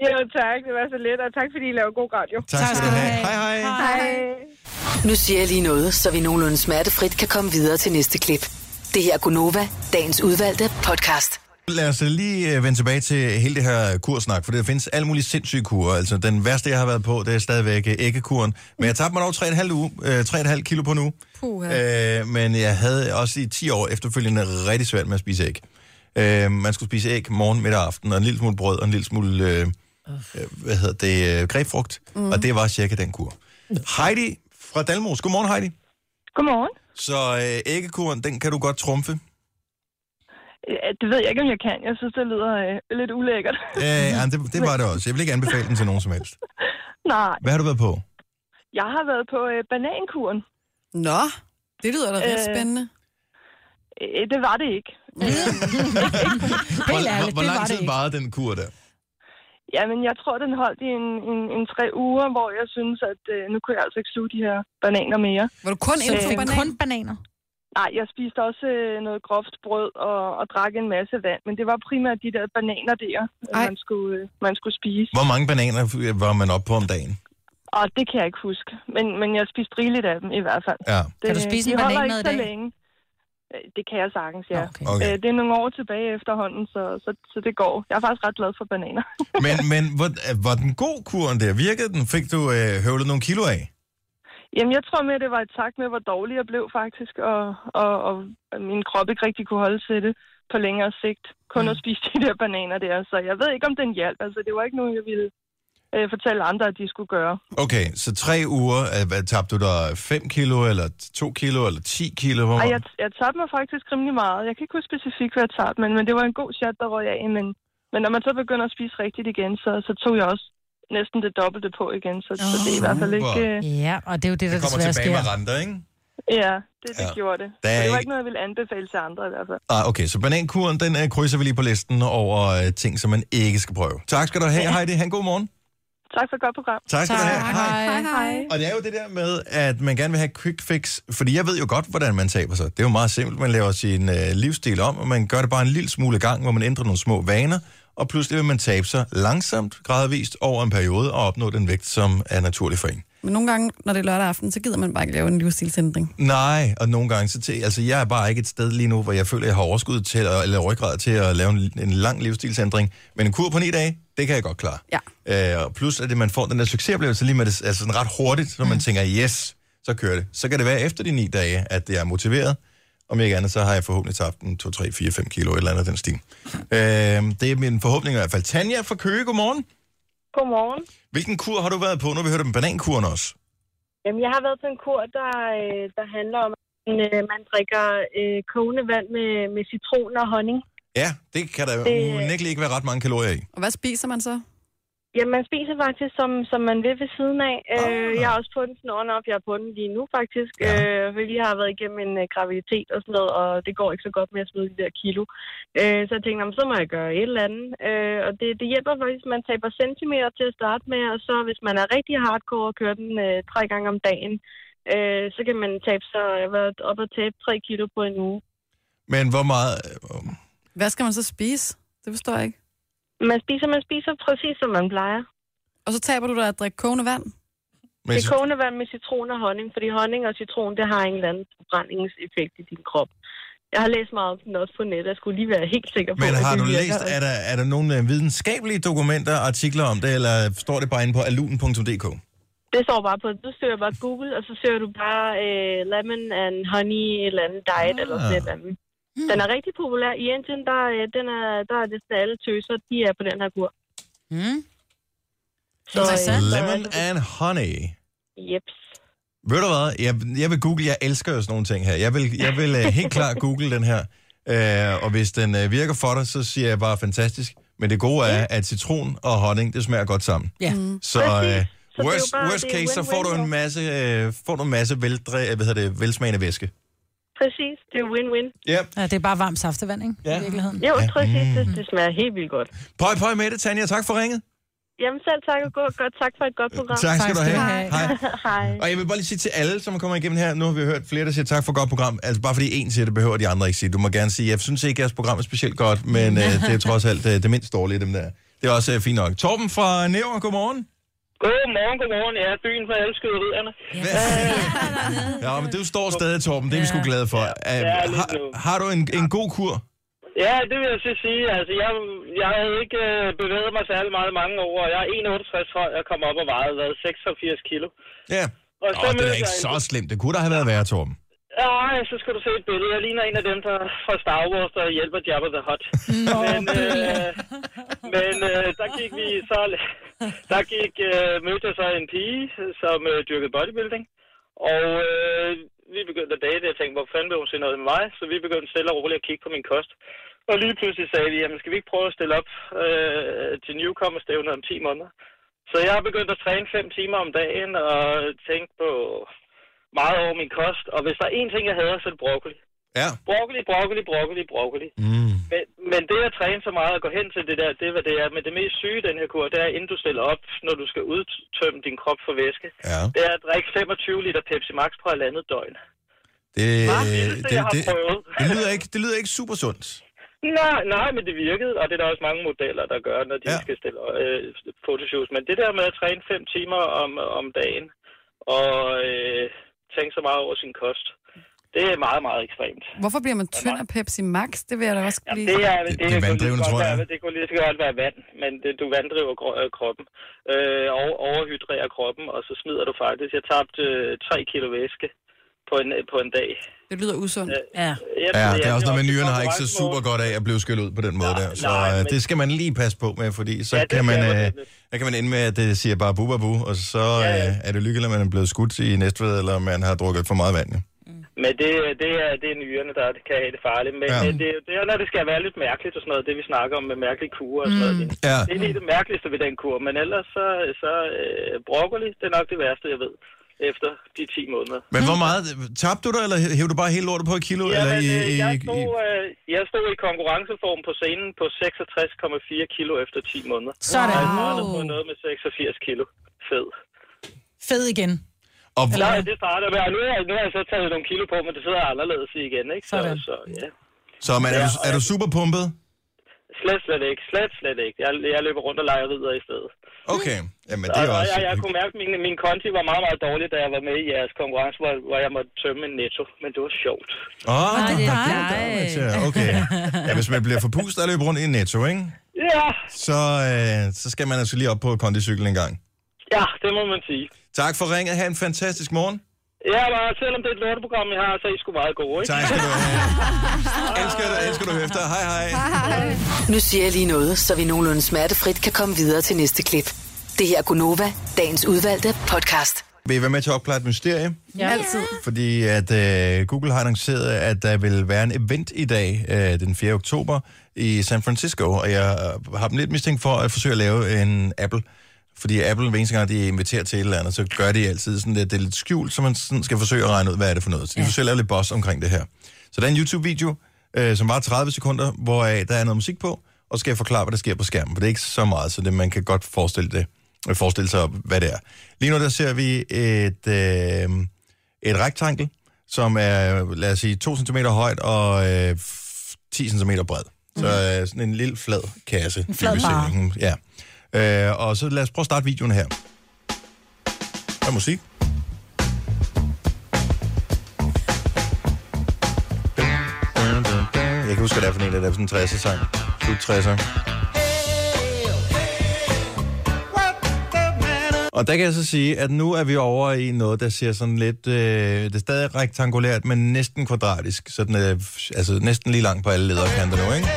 Speaker 12: jo tak, det var så lidt, og tak fordi I laver god radio.
Speaker 1: Tak, tak skal du have. Hej, hej.
Speaker 12: Hej.
Speaker 5: Nu siger jeg lige noget, så vi nogenlunde smertefrit kan komme videre til næste klip. Det her er Gunova, dagens udvalgte podcast.
Speaker 1: Lad os lige øh, vende tilbage til hele det her kursnak, for der findes alle mulige sindssyge kurer. Altså, den værste, jeg har været på, det er stadigvæk øh, æggekuren. Men jeg tabte mig dog 3,5, uge, øh, 3,5 kilo på nu. Øh, men jeg havde også i 10 år efterfølgende rigtig svært med at spise æg. Øh, man skulle spise æg morgen, middag og aften, og en lille smule brød, og en lille smule, øh, øh, hvad hedder det, øh, grebfrugt. Mm. Og det var cirka den kur. Heidi fra Dalmos. Godmorgen, Heidi.
Speaker 12: Godmorgen.
Speaker 1: Så øh, æggekuren, den kan du godt trumfe.
Speaker 12: Ja, det ved jeg ikke, om jeg kan. Jeg synes, det lyder øh, lidt ulækkert.
Speaker 1: Øh, ja, det, det var det også. Jeg vil ikke anbefale den til nogen som helst.
Speaker 12: nej,
Speaker 1: Hvad har du været på?
Speaker 12: jeg har været på øh, banankuren.
Speaker 2: Nå, det lyder da ret
Speaker 12: Øh.
Speaker 2: spændende.
Speaker 12: Øh, det var det ikke.
Speaker 1: Hvor,
Speaker 4: Helt
Speaker 1: hvor,
Speaker 4: ærligt,
Speaker 1: hvor
Speaker 4: det var
Speaker 1: lang
Speaker 4: det
Speaker 1: tid
Speaker 4: ikke.
Speaker 1: varede den kur der?
Speaker 12: Jamen, jeg tror, den holdt i en, en, en tre uger, hvor jeg synes, at øh, nu kunne jeg altså ikke sluge de her bananer mere. Øh,
Speaker 2: Var du kun
Speaker 4: Så
Speaker 2: inde
Speaker 4: du
Speaker 2: for
Speaker 4: fik
Speaker 2: banan?
Speaker 4: kun bananer?
Speaker 12: Nej, jeg spiste også øh, noget groft brød og, og drak en masse vand, men det var primært de der bananer der,
Speaker 2: Ej.
Speaker 12: øh, man skulle, øh, man skulle spise.
Speaker 1: Hvor mange bananer øh, var man oppe på om dagen?
Speaker 12: Og det kan jeg ikke huske, men, men jeg spiste rigeligt af dem i hvert fald.
Speaker 1: Ja,
Speaker 12: Det,
Speaker 4: du spise
Speaker 12: de
Speaker 4: en
Speaker 12: holder
Speaker 4: banan med
Speaker 12: ikke
Speaker 4: i
Speaker 12: så
Speaker 4: dag?
Speaker 12: længe. Øh, Det kan jeg sagtens, ja.
Speaker 4: Nå, Okay.
Speaker 1: okay.
Speaker 12: Øh, det er nogle år tilbage efterhånden, så, så, så det går. Jeg er faktisk ret glad for bananer.
Speaker 1: Men, men hvor, øh, var den god kuren der? Virkede den? Fik du øh, høvlet nogle kilo af?
Speaker 12: Jamen, jeg tror mere, det var et tak med, hvor dårlig jeg blev faktisk, og, og, og min krop ikke rigtig kunne holde til det på længere sigt. Kun mm. at spise de der bananer der, så jeg ved ikke, om den hjalp. Altså, det var ikke noget, jeg ville øh, fortælle andre, at de skulle gøre.
Speaker 1: Okay, så tre uger, øh, hvad tabte du der 5 kilo, eller 2 kilo, eller 10 kilo? Hvor
Speaker 12: Og
Speaker 1: meget?
Speaker 12: jeg, jeg tabte mig faktisk rimelig meget. Jeg kan ikke huske specifikt, hvad jeg tabte, men, men det var en god chat, der røg af. Men, men når man så begynder at spise rigtigt igen, så, så tog jeg også næsten det dobbelte på igen. Så, oh, så det er i hvert fald ikke... øh,
Speaker 4: Ja, og det er jo det, der
Speaker 1: Det kommer
Speaker 4: desværre
Speaker 1: tilbage
Speaker 4: sker.
Speaker 1: med renter, ikke?
Speaker 12: Ja, det, det
Speaker 1: Ja.
Speaker 12: ja. gjorde det.
Speaker 1: Der
Speaker 12: Så
Speaker 1: er
Speaker 12: det var
Speaker 1: ikke-
Speaker 12: ikke noget, jeg ville anbefale til andre i hvert fald.
Speaker 1: Ah, okay, så banankuren, den øh, krydser vi lige på listen over øh, ting, som man ikke skal prøve. Tak skal du have, Heidi. Ha' en god morgen.
Speaker 12: Tak for et godt program.
Speaker 1: Tak skal du have.
Speaker 12: Hej. Hej, hej.
Speaker 1: Og det er jo det der med, at man gerne vil have quick fix, fordi jeg ved jo godt, hvordan man taber sig. Det er jo meget simpelt. Man laver sin øh, livsstil om, og man gør det bare en lille smule gang, hvor man ændrer nogle små vaner, og pludselig vil man tabe sig langsomt, gradvist over en periode og opnå den vægt, som er naturlig for en.
Speaker 2: Men nogle gange, når det er lørdag aften, så gider man bare ikke lave en livsstilsændring.
Speaker 1: Nej, og nogle gange, så til, altså jeg er bare ikke et sted lige nu, hvor jeg føler, jeg har overskud til, at- eller ryggrad til at lave en, en lang livsstilsændring. Men en kur på ni dage, det kan jeg godt klare. Ja. Øh, og plus, at det, man får den der succesoplevelse lige med det, altså sådan ret hurtigt, når man mm. tænker, yes, så kører det. Så kan det være efter de ni dage, at jeg er motiveret. Om jeg ikke andet, så har jeg forhåbentlig tabt en 2, 3, 4, 5 kilo, et eller andet af den stil. Øh, det er min forhåbning i hvert fald. Tanja fra Køge, godmorgen.
Speaker 13: Godmorgen.
Speaker 1: Hvilken kur har du været på? Nu har vi hørt om banankuren også.
Speaker 13: Jamen, jeg har været på en kur, der, øh, der handler om, at man, øh, man drikker øh, kogende vand med, med citron og honning.
Speaker 1: Ja, det kan der
Speaker 13: Det-
Speaker 1: det... unægteligt ikke være ret mange kalorier i.
Speaker 13: Og hvad spiser man så? Jamen, man spiser faktisk, som, som man vil ved siden af. Øh, jeg er også på den sådan op. Jeg er på den lige nu, faktisk. Ja. Øh, fordi jeg har været igennem en øh, graviditet og sådan noget, og det går ikke så godt med at smide de der kilo. Øh, så jeg tænkte, "Nå, men så må jeg gøre et eller andet. Øh, og det, det hjælper faktisk, man taber centimeter til at starte med, og så hvis man er rigtig hardcore og kører den øh, tre gange om dagen, øh, så kan man tabe sig, jeg har været op og tabe tre kilo på en uge.
Speaker 1: Men hvor meget...
Speaker 13: Hvad skal man så spise? Det forstår jeg ikke. Man spiser, man spiser præcis, som man plejer. Og så taber du dig at drikke kogende vand?
Speaker 1: Men
Speaker 13: det er
Speaker 1: så-
Speaker 13: kogende vand med citron og honning, fordi honning og citron, det har en eller anden forbrændingseffekt i din krop. Jeg har læst meget om den også på nettet, jeg skulle lige være helt sikker på,
Speaker 1: Men har
Speaker 13: det
Speaker 1: du
Speaker 13: virker.
Speaker 1: læst, er der, er der nogle øh, videnskabelige dokumenter og artikler om det, eller står det bare inde på alun.dk?
Speaker 13: Det står bare på, du søger bare Google, og så søger du bare øh, lemon and honey, et eller andet diet, ah. eller sådan et eller andet. Den er rigtig populær. I Indien, der, øh, den er, der er næsten alle tøser, de er på den her kur. Mm. Så, øh, så,
Speaker 1: Lemon and honey.
Speaker 13: Jeps.
Speaker 1: Ved du hvad? Jeg, jeg vil google, jeg elsker jo sådan nogle ting her. Jeg vil, jeg vil øh, helt klart google den her. Øh, og hvis den øh, virker for dig, så siger jeg bare fantastisk. Men det gode er, at citron og honning, det smager godt sammen.
Speaker 4: Ja.
Speaker 2: Mm.
Speaker 1: Så øh, worst, worst case, så får du en masse, øh, får du en masse veldre, øh, hvad hedder det, velsmagende væske.
Speaker 13: Præcis, det er win-win.
Speaker 1: Yep.
Speaker 4: Ja, det er bare varmt saftevand, ikke? Ja. I virkeligheden. Mm.
Speaker 13: Jo, præcis, det, det smager helt vildt godt.
Speaker 1: Pøj, pøj med det, Tanja. Tak for ringet.
Speaker 13: Jamen selv tak, og godt, godt tak for et godt program.
Speaker 1: Tak skal du have. Hej.
Speaker 13: Hej.
Speaker 1: Og jeg vil bare lige sige til alle, som kommer igennem her, nu har vi hørt flere, der siger tak for et godt program. Altså bare fordi en siger det, behøver de andre ikke sige. Du må gerne sige, jeg synes ikke, jeres program er specielt godt, men øh, det er trods alt øh, det mindst dårlige, dem der. Det er også øh, fint nok. Torben fra Næver, godmorgen.
Speaker 14: Godmorgen, godmorgen. Jeg er byen for alle skyderierne. Øh,
Speaker 1: Ja, men du står stadig, Torben. Det er vi sgu glade for. Ja,
Speaker 14: jeg er lidt
Speaker 1: har, har du en, en god kur?
Speaker 14: Ja, det vil jeg så sige. Altså, jeg, jeg havde ikke øh, bevæget mig særlig meget i mange år. og Jeg er 1,68 høj og kom op og vejede hvad, 86 kilo.
Speaker 1: Ja.
Speaker 14: Og
Speaker 1: Nå, det er da ikke
Speaker 14: jeg
Speaker 1: så slemt. Det kunne da have været værre, Torben.
Speaker 14: Nej, så skal du se et billede. Jeg ligner en af dem der fra Star Wars, der hjælper Jabba the Hutt. men øh, men øh, der gik vi så... Der gik, øh, mødte jeg så en pige, som øh, dyrkede bodybuilding. Og øh, vi begyndte at date. Jeg tænkte, hvor fanden vil hun se noget med mig? Så vi begyndte stille og roligt at kigge på min kost. Og lige pludselig sagde vi, jamen skal vi ikke prøve at stille op øh, til Newcomer-stævnet om 10 måneder? Så jeg har begyndt at træne 5 timer om dagen og tænke på meget over min kost. Og hvis der er én ting, jeg hader, så er det broccoli.
Speaker 1: Ja.
Speaker 14: Broccoli, broccoli, broccoli, broccoli. Mm. Men, men det at træne så meget og gå hen til det der, det er, hvad det er. Men det mest syge i den her kur, det er, inden du stiller op, når du skal udtømme din krop for væske,
Speaker 1: ja.
Speaker 14: det er at drikke 25 liter Pepsi Max på halvandet døgn.
Speaker 1: Øh, Det,
Speaker 14: Hva?
Speaker 1: det,
Speaker 14: Det, jeg
Speaker 1: det,
Speaker 14: har
Speaker 1: det,
Speaker 14: prøvet.
Speaker 1: det, lyder ikke, det lyder ikke super sundt.
Speaker 14: Nej, nej, men det virkede, og det er der også mange modeller, der gør, når de ja. skal stille øh, fotoshoots. Men det der med at træne fem timer om, om dagen, og øh, tænke så meget over sin kost, det er meget, meget ekstremt.
Speaker 2: Hvorfor bliver man tynd af Pepsi Max? Det vil jeg da også blive...
Speaker 14: Det er, det,
Speaker 2: det
Speaker 14: kunne
Speaker 2: er
Speaker 14: lige så
Speaker 2: vanddrivende,
Speaker 14: godt
Speaker 2: tror jeg.
Speaker 14: Være, det kunne lige så godt være vand, men det, du vanddriver gro- øh, kroppen, øh, og overhydrerer kroppen, og så smider du faktisk. Jeg tabte øh, 3 kilo væske på en, på en dag.
Speaker 2: Det lyder usundt.
Speaker 3: Ja.
Speaker 1: Ja, det er også noget med nyrene har ikke så super godt af at blive skyllet ud på den måde der. Så
Speaker 14: nej,
Speaker 1: øh,
Speaker 14: men-
Speaker 1: det skal man lige passe på med, fordi så
Speaker 14: Ja,
Speaker 1: ja,
Speaker 14: det
Speaker 1: kan, man,
Speaker 14: skal man
Speaker 1: øh,
Speaker 14: nemlig.
Speaker 1: der kan man ende med, at det siger bare bu, bu, og så øh, er det lykke, at man er blevet skudt i Næstved, eller man har drukket for meget vand. jo.
Speaker 14: Men det, øh, det, er, det er nyrerne, der kan have det farligt. Men
Speaker 1: Ja.
Speaker 14: ja. det, det er, når det skal være lidt mærkeligt og sådan noget, det vi snakker om med mærkelige kurer og sådan noget. Det,
Speaker 1: Ja.
Speaker 14: det er lige det mærkeligste ved den kur, men ellers så, så øh, broccoli, det er nok det værste, jeg ved, efter de 10 måneder.
Speaker 1: Men hvor meget, tabte du dig, eller hævde du bare hele lortet på et kilo?
Speaker 14: Ja,
Speaker 1: eller
Speaker 14: men, øh,
Speaker 1: i,
Speaker 14: jeg,
Speaker 1: i,
Speaker 14: stod, øh, jeg stod i konkurrenceform på scenen på 66,4 kilo efter 10 måneder.
Speaker 4: Sådan.
Speaker 14: Og Jeg startede på noget med 86 kilo. Fed.
Speaker 4: Fed igen.
Speaker 1: Og
Speaker 4: Eller
Speaker 14: Nej,
Speaker 4: hvad?
Speaker 14: det starter med, og nu har, jeg- nu har jeg så taget nogle kilo på, men det sidder anderledes i igen, ikke? Så, så ja.
Speaker 1: Så man, er, du, er du super pumpet?
Speaker 14: Slet, slet ikke. Slet, slet ikke. Jeg, jeg løber rundt og leger ridder i stedet.
Speaker 1: Okay, jamen
Speaker 14: og,
Speaker 1: det er
Speaker 14: og
Speaker 1: også...
Speaker 14: jeg, jeg kunne mærke, at min, min konti var meget, meget dårlig, da jeg var med i jeres konkurrence, hvor, hvor jeg måtte tømme en netto. Men det var sjovt.
Speaker 1: Åh, oh,
Speaker 14: Nej,
Speaker 1: det,
Speaker 14: det er
Speaker 1: er dig. Okay. Ja, hvis man bliver forpustet og løber rundt i en netto, ikke?
Speaker 14: Ja,
Speaker 1: Så, øh, så skal man altså lige op på kondicykel en gang.
Speaker 14: ja, det må man sige.
Speaker 1: Tak for ringet. Ha' en fantastisk morgen.
Speaker 14: Ja, bare selvom det er et lorteprogram, jeg har, så er I sgu meget gode, ikke?
Speaker 1: Tak skal du have. elsker dig, elsker dig efter. Hej, hej.
Speaker 5: Nu siger jeg lige noget, så vi nogenlunde smertefrit kan komme videre til næste klip. Det her er Gunova, dagens udvalgte podcast.
Speaker 1: Vil I være med til at opklare et mysterie?
Speaker 2: Ja. Altid.
Speaker 1: Fordi at øh, Google har annonceret, at der vil være en event i dag, øh, den 4. oktober, i San Francisco. Og jeg øh, har dem lidt mistænkt for at forsøge at lave en Apple. Fordi Apple, hver eneste gang, de inviterer til et eller andet, så gør de altid sådan lidt, det er lidt skjult, så man sådan skal forsøge at regne ud, hvad er det for noget. Så de ja. forsøger at lave lidt boss omkring det her. Så der er en YouTube-video, øh, som var 30 sekunder, hvor øh, der er noget musik på, og skal jeg forklare, hvad der sker på skærmen. For det er ikke så meget, så det, man kan godt forestille, det, øh, forestille sig, hvad det er. Lige nu der ser vi et, øh, et rektankel, som er, lad os sige, 2 cm højt og øh, f- 10 cm bred. Så øh, sådan en lille flad kasse.
Speaker 15: Mhm. En flad
Speaker 1: dybest set,
Speaker 15: barre.
Speaker 1: ikke? Ja. Øh, og så lad os prøve at starte videoen her. Der er musik. Jeg kan ikke huske, hvad det er for en, der er sådan en 60'er sang. Slut 60'er. Og der kan jeg så sige, at nu er vi over i noget, der ser sådan lidt... Øh, det er stadig rektangulært, men næsten kvadratisk. Så den er altså, næsten lige lang på alle ledere kanter nu, ikke?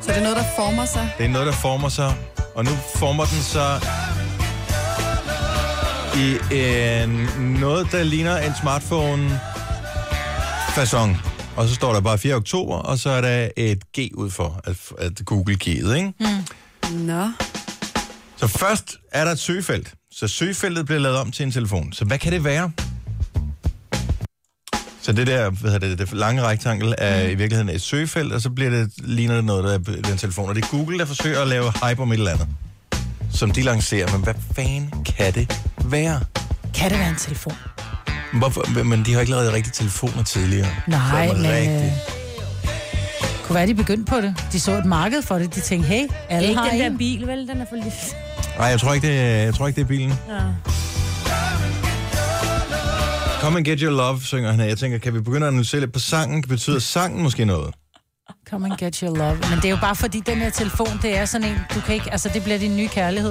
Speaker 2: Så det er noget, der former sig.
Speaker 1: Det er noget, der former sig. Og nu former den sig i en, noget, der ligner en smartphone fason. Og så står der bare 4. oktober, og så er der et G ud for, at, at Google G'et, ikke?
Speaker 2: Mm. Nå.
Speaker 1: Så først er der et søgefelt. Så søgefeltet bliver lavet om til en telefon. Så hvad kan det være? Så det der, hvad hedder det, det lange rektangel er mm. i virkeligheden et søgefelt, og så bliver det, ligner det noget, der er en telefon. Og det er Google, der forsøger at lave hype om et eller andet, som de lancerer. Men hvad fanden kan det være?
Speaker 4: Kan det være en telefon?
Speaker 1: Hvorfor? Men de har ikke lavet rigtige telefoner tidligere.
Speaker 4: Nej,
Speaker 1: Som
Speaker 4: men, øh,
Speaker 1: rigtig-
Speaker 4: Kunne være, de begyndte på det. De så et marked for det. De tænkte, hey, alle
Speaker 3: Ikke
Speaker 4: har
Speaker 3: den
Speaker 4: en.
Speaker 3: der bil, vel? Den er for lille.
Speaker 1: Nej, jeg tror ikke, det er, jeg tror ikke, det er bilen.
Speaker 3: Ja.
Speaker 1: Come and get your love, synger han her. Jeg tænker, kan vi begynde at analysere lidt på sangen? Betyder sangen måske noget?
Speaker 4: Come and get your love. Men det er jo bare fordi, den her telefon, det er sådan en, du kan ikke, altså det bliver din nye kærlighed.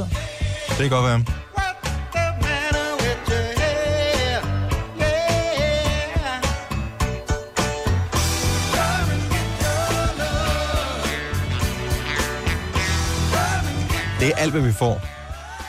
Speaker 1: Det kan godt være. Det er alt, hvad vi får.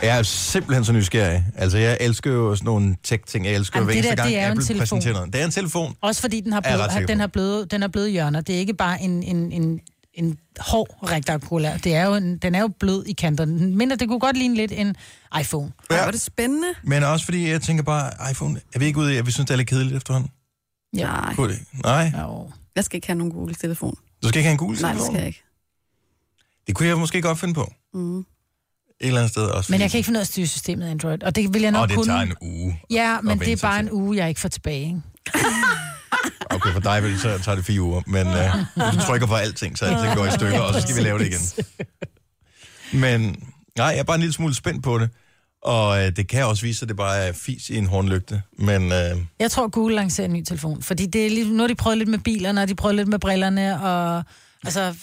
Speaker 1: Jeg er simpelthen så nysgerrig. Altså, jeg elsker jo sådan nogle tech-ting. Jeg elsker jo
Speaker 4: Jamen,
Speaker 1: hver
Speaker 4: det
Speaker 1: eneste
Speaker 4: der,
Speaker 1: gang,
Speaker 4: det er jo en
Speaker 1: Apple
Speaker 4: telefon.
Speaker 1: præsenterer noget. Det er en telefon.
Speaker 4: Også fordi den har
Speaker 1: Er jeg
Speaker 4: blød,
Speaker 1: ret sikker
Speaker 4: den
Speaker 1: på.
Speaker 4: har bløde, den har bløde hjørner. Det er ikke bare en, en, en, en hård rektangulær. Det er jo en, den er jo blød i kanterne. Men det kunne godt ligne lidt en iPhone.
Speaker 1: Ja. Ej,
Speaker 2: hvor er det spændende.
Speaker 1: Men også fordi, jeg tænker bare, iPhone, er vi ikke ude i, at vi synes, det er lidt kedeligt efterhånden?
Speaker 2: Ja. Nej.
Speaker 1: Kunne det? Nej.
Speaker 2: Jeg skal ikke have nogen Google-telefon.
Speaker 1: Du skal ikke have en gul
Speaker 2: Nej, det
Speaker 1: telefon?
Speaker 2: skal jeg ikke.
Speaker 1: Det kunne jeg måske godt finde på. Et
Speaker 2: Mm.
Speaker 1: eller andet sted også.
Speaker 4: Men
Speaker 1: fordi-
Speaker 4: jeg kan ikke finde ud af at styre systemet Android, og det vil jeg nok
Speaker 1: Åh, det
Speaker 4: kunne.
Speaker 1: tager en uge
Speaker 4: Ja,
Speaker 1: at
Speaker 4: men det
Speaker 1: vende
Speaker 4: er
Speaker 1: sig
Speaker 4: bare en uge, jeg ikke får tilbage. Ikke?
Speaker 1: Okay, for dig vil, så tager det fire uger, men øh, du trykker på alting, så alting går i stykker, og så skal vi lave det igen. Men nej, jeg er bare en lille smule spændt på det, og øh, det kan også vise sig, at det bare er fis i en hornlygte, men øh,
Speaker 4: Jeg tror, Google lancerer en ny telefon, fordi det er lige, nu har de prøvet lidt med bilerne, og de prøvet lidt med brillerne, og altså,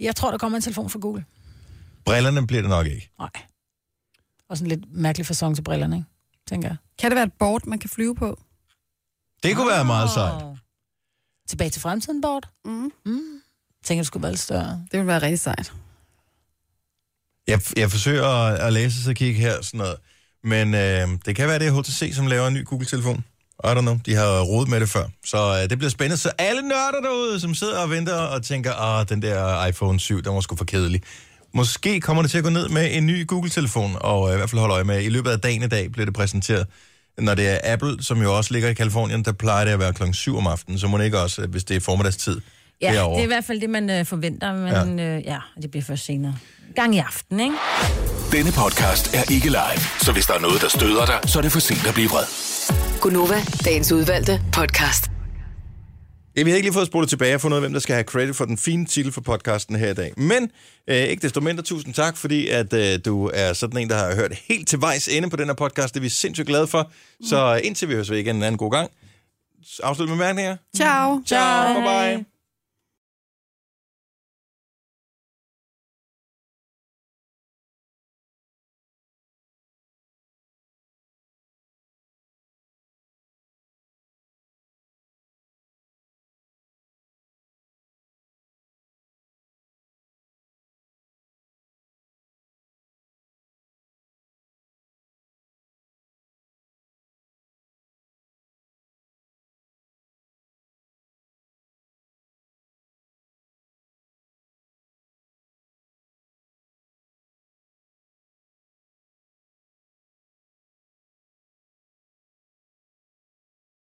Speaker 4: jeg tror, der kommer en telefon fra Google.
Speaker 1: brillerne bliver det nok ikke.
Speaker 4: Og sådan lidt mærkelig fasong til brillerne, ikke? tænker jeg.
Speaker 2: Kan det være et board, man kan flyve på?
Speaker 1: Det kunne være meget sejt.
Speaker 4: Tilbage til fremtiden, Bort. Mm. Mm. Tænker, det skulle være lidt større.
Speaker 2: Det ville være rigtig sejt.
Speaker 1: Jeg, jeg forsøger at, at læse så kigge her, sådan noget. Men øh, det kan være, det er HTC, som laver en ny Google-telefon. I don't know. De har rodet med det før. Så øh, det bliver spændende. Så alle nørder derude, som sidder og venter og tænker, ah, den der iPhone 7, den var sgu for kedelig. Måske kommer det til at gå ned med en ny Google-telefon, og øh, i hvert fald holde øje med, i løbet af dagen i dag bliver det præsenteret. Når det er Apple, som jo også ligger i Kalifornien, der plejer det at være klokken 7 om aftenen, så må det ikke også, at hvis det er formiddagstid
Speaker 3: Ja,
Speaker 1: derovre.
Speaker 3: det er i hvert fald det, man øh, forventer, men ja. Øh, ja, det bliver først senere. Gang i aften, ikke?
Speaker 6: Denne podcast er ikke live, så hvis der er noget, der støder dig, så er det for sent at blive vred.
Speaker 5: Gunova, dagens udvalgte podcast.
Speaker 1: Ja, vi har ikke lige fået spolet tilbage og fundet ud af, hvem der skal have credit for den fine titel for podcasten her i dag. Men øh, ikke desto mindre, tusind tak, fordi at, øh, du er sådan en, der har hørt helt til vejs ende på den her podcast. Det er vi sindssygt glade for. øh, Så indtil vi høres ved igen en anden god gang. Afslut med mærkninger.
Speaker 2: Ciao.
Speaker 1: Ciao. Bye-bye.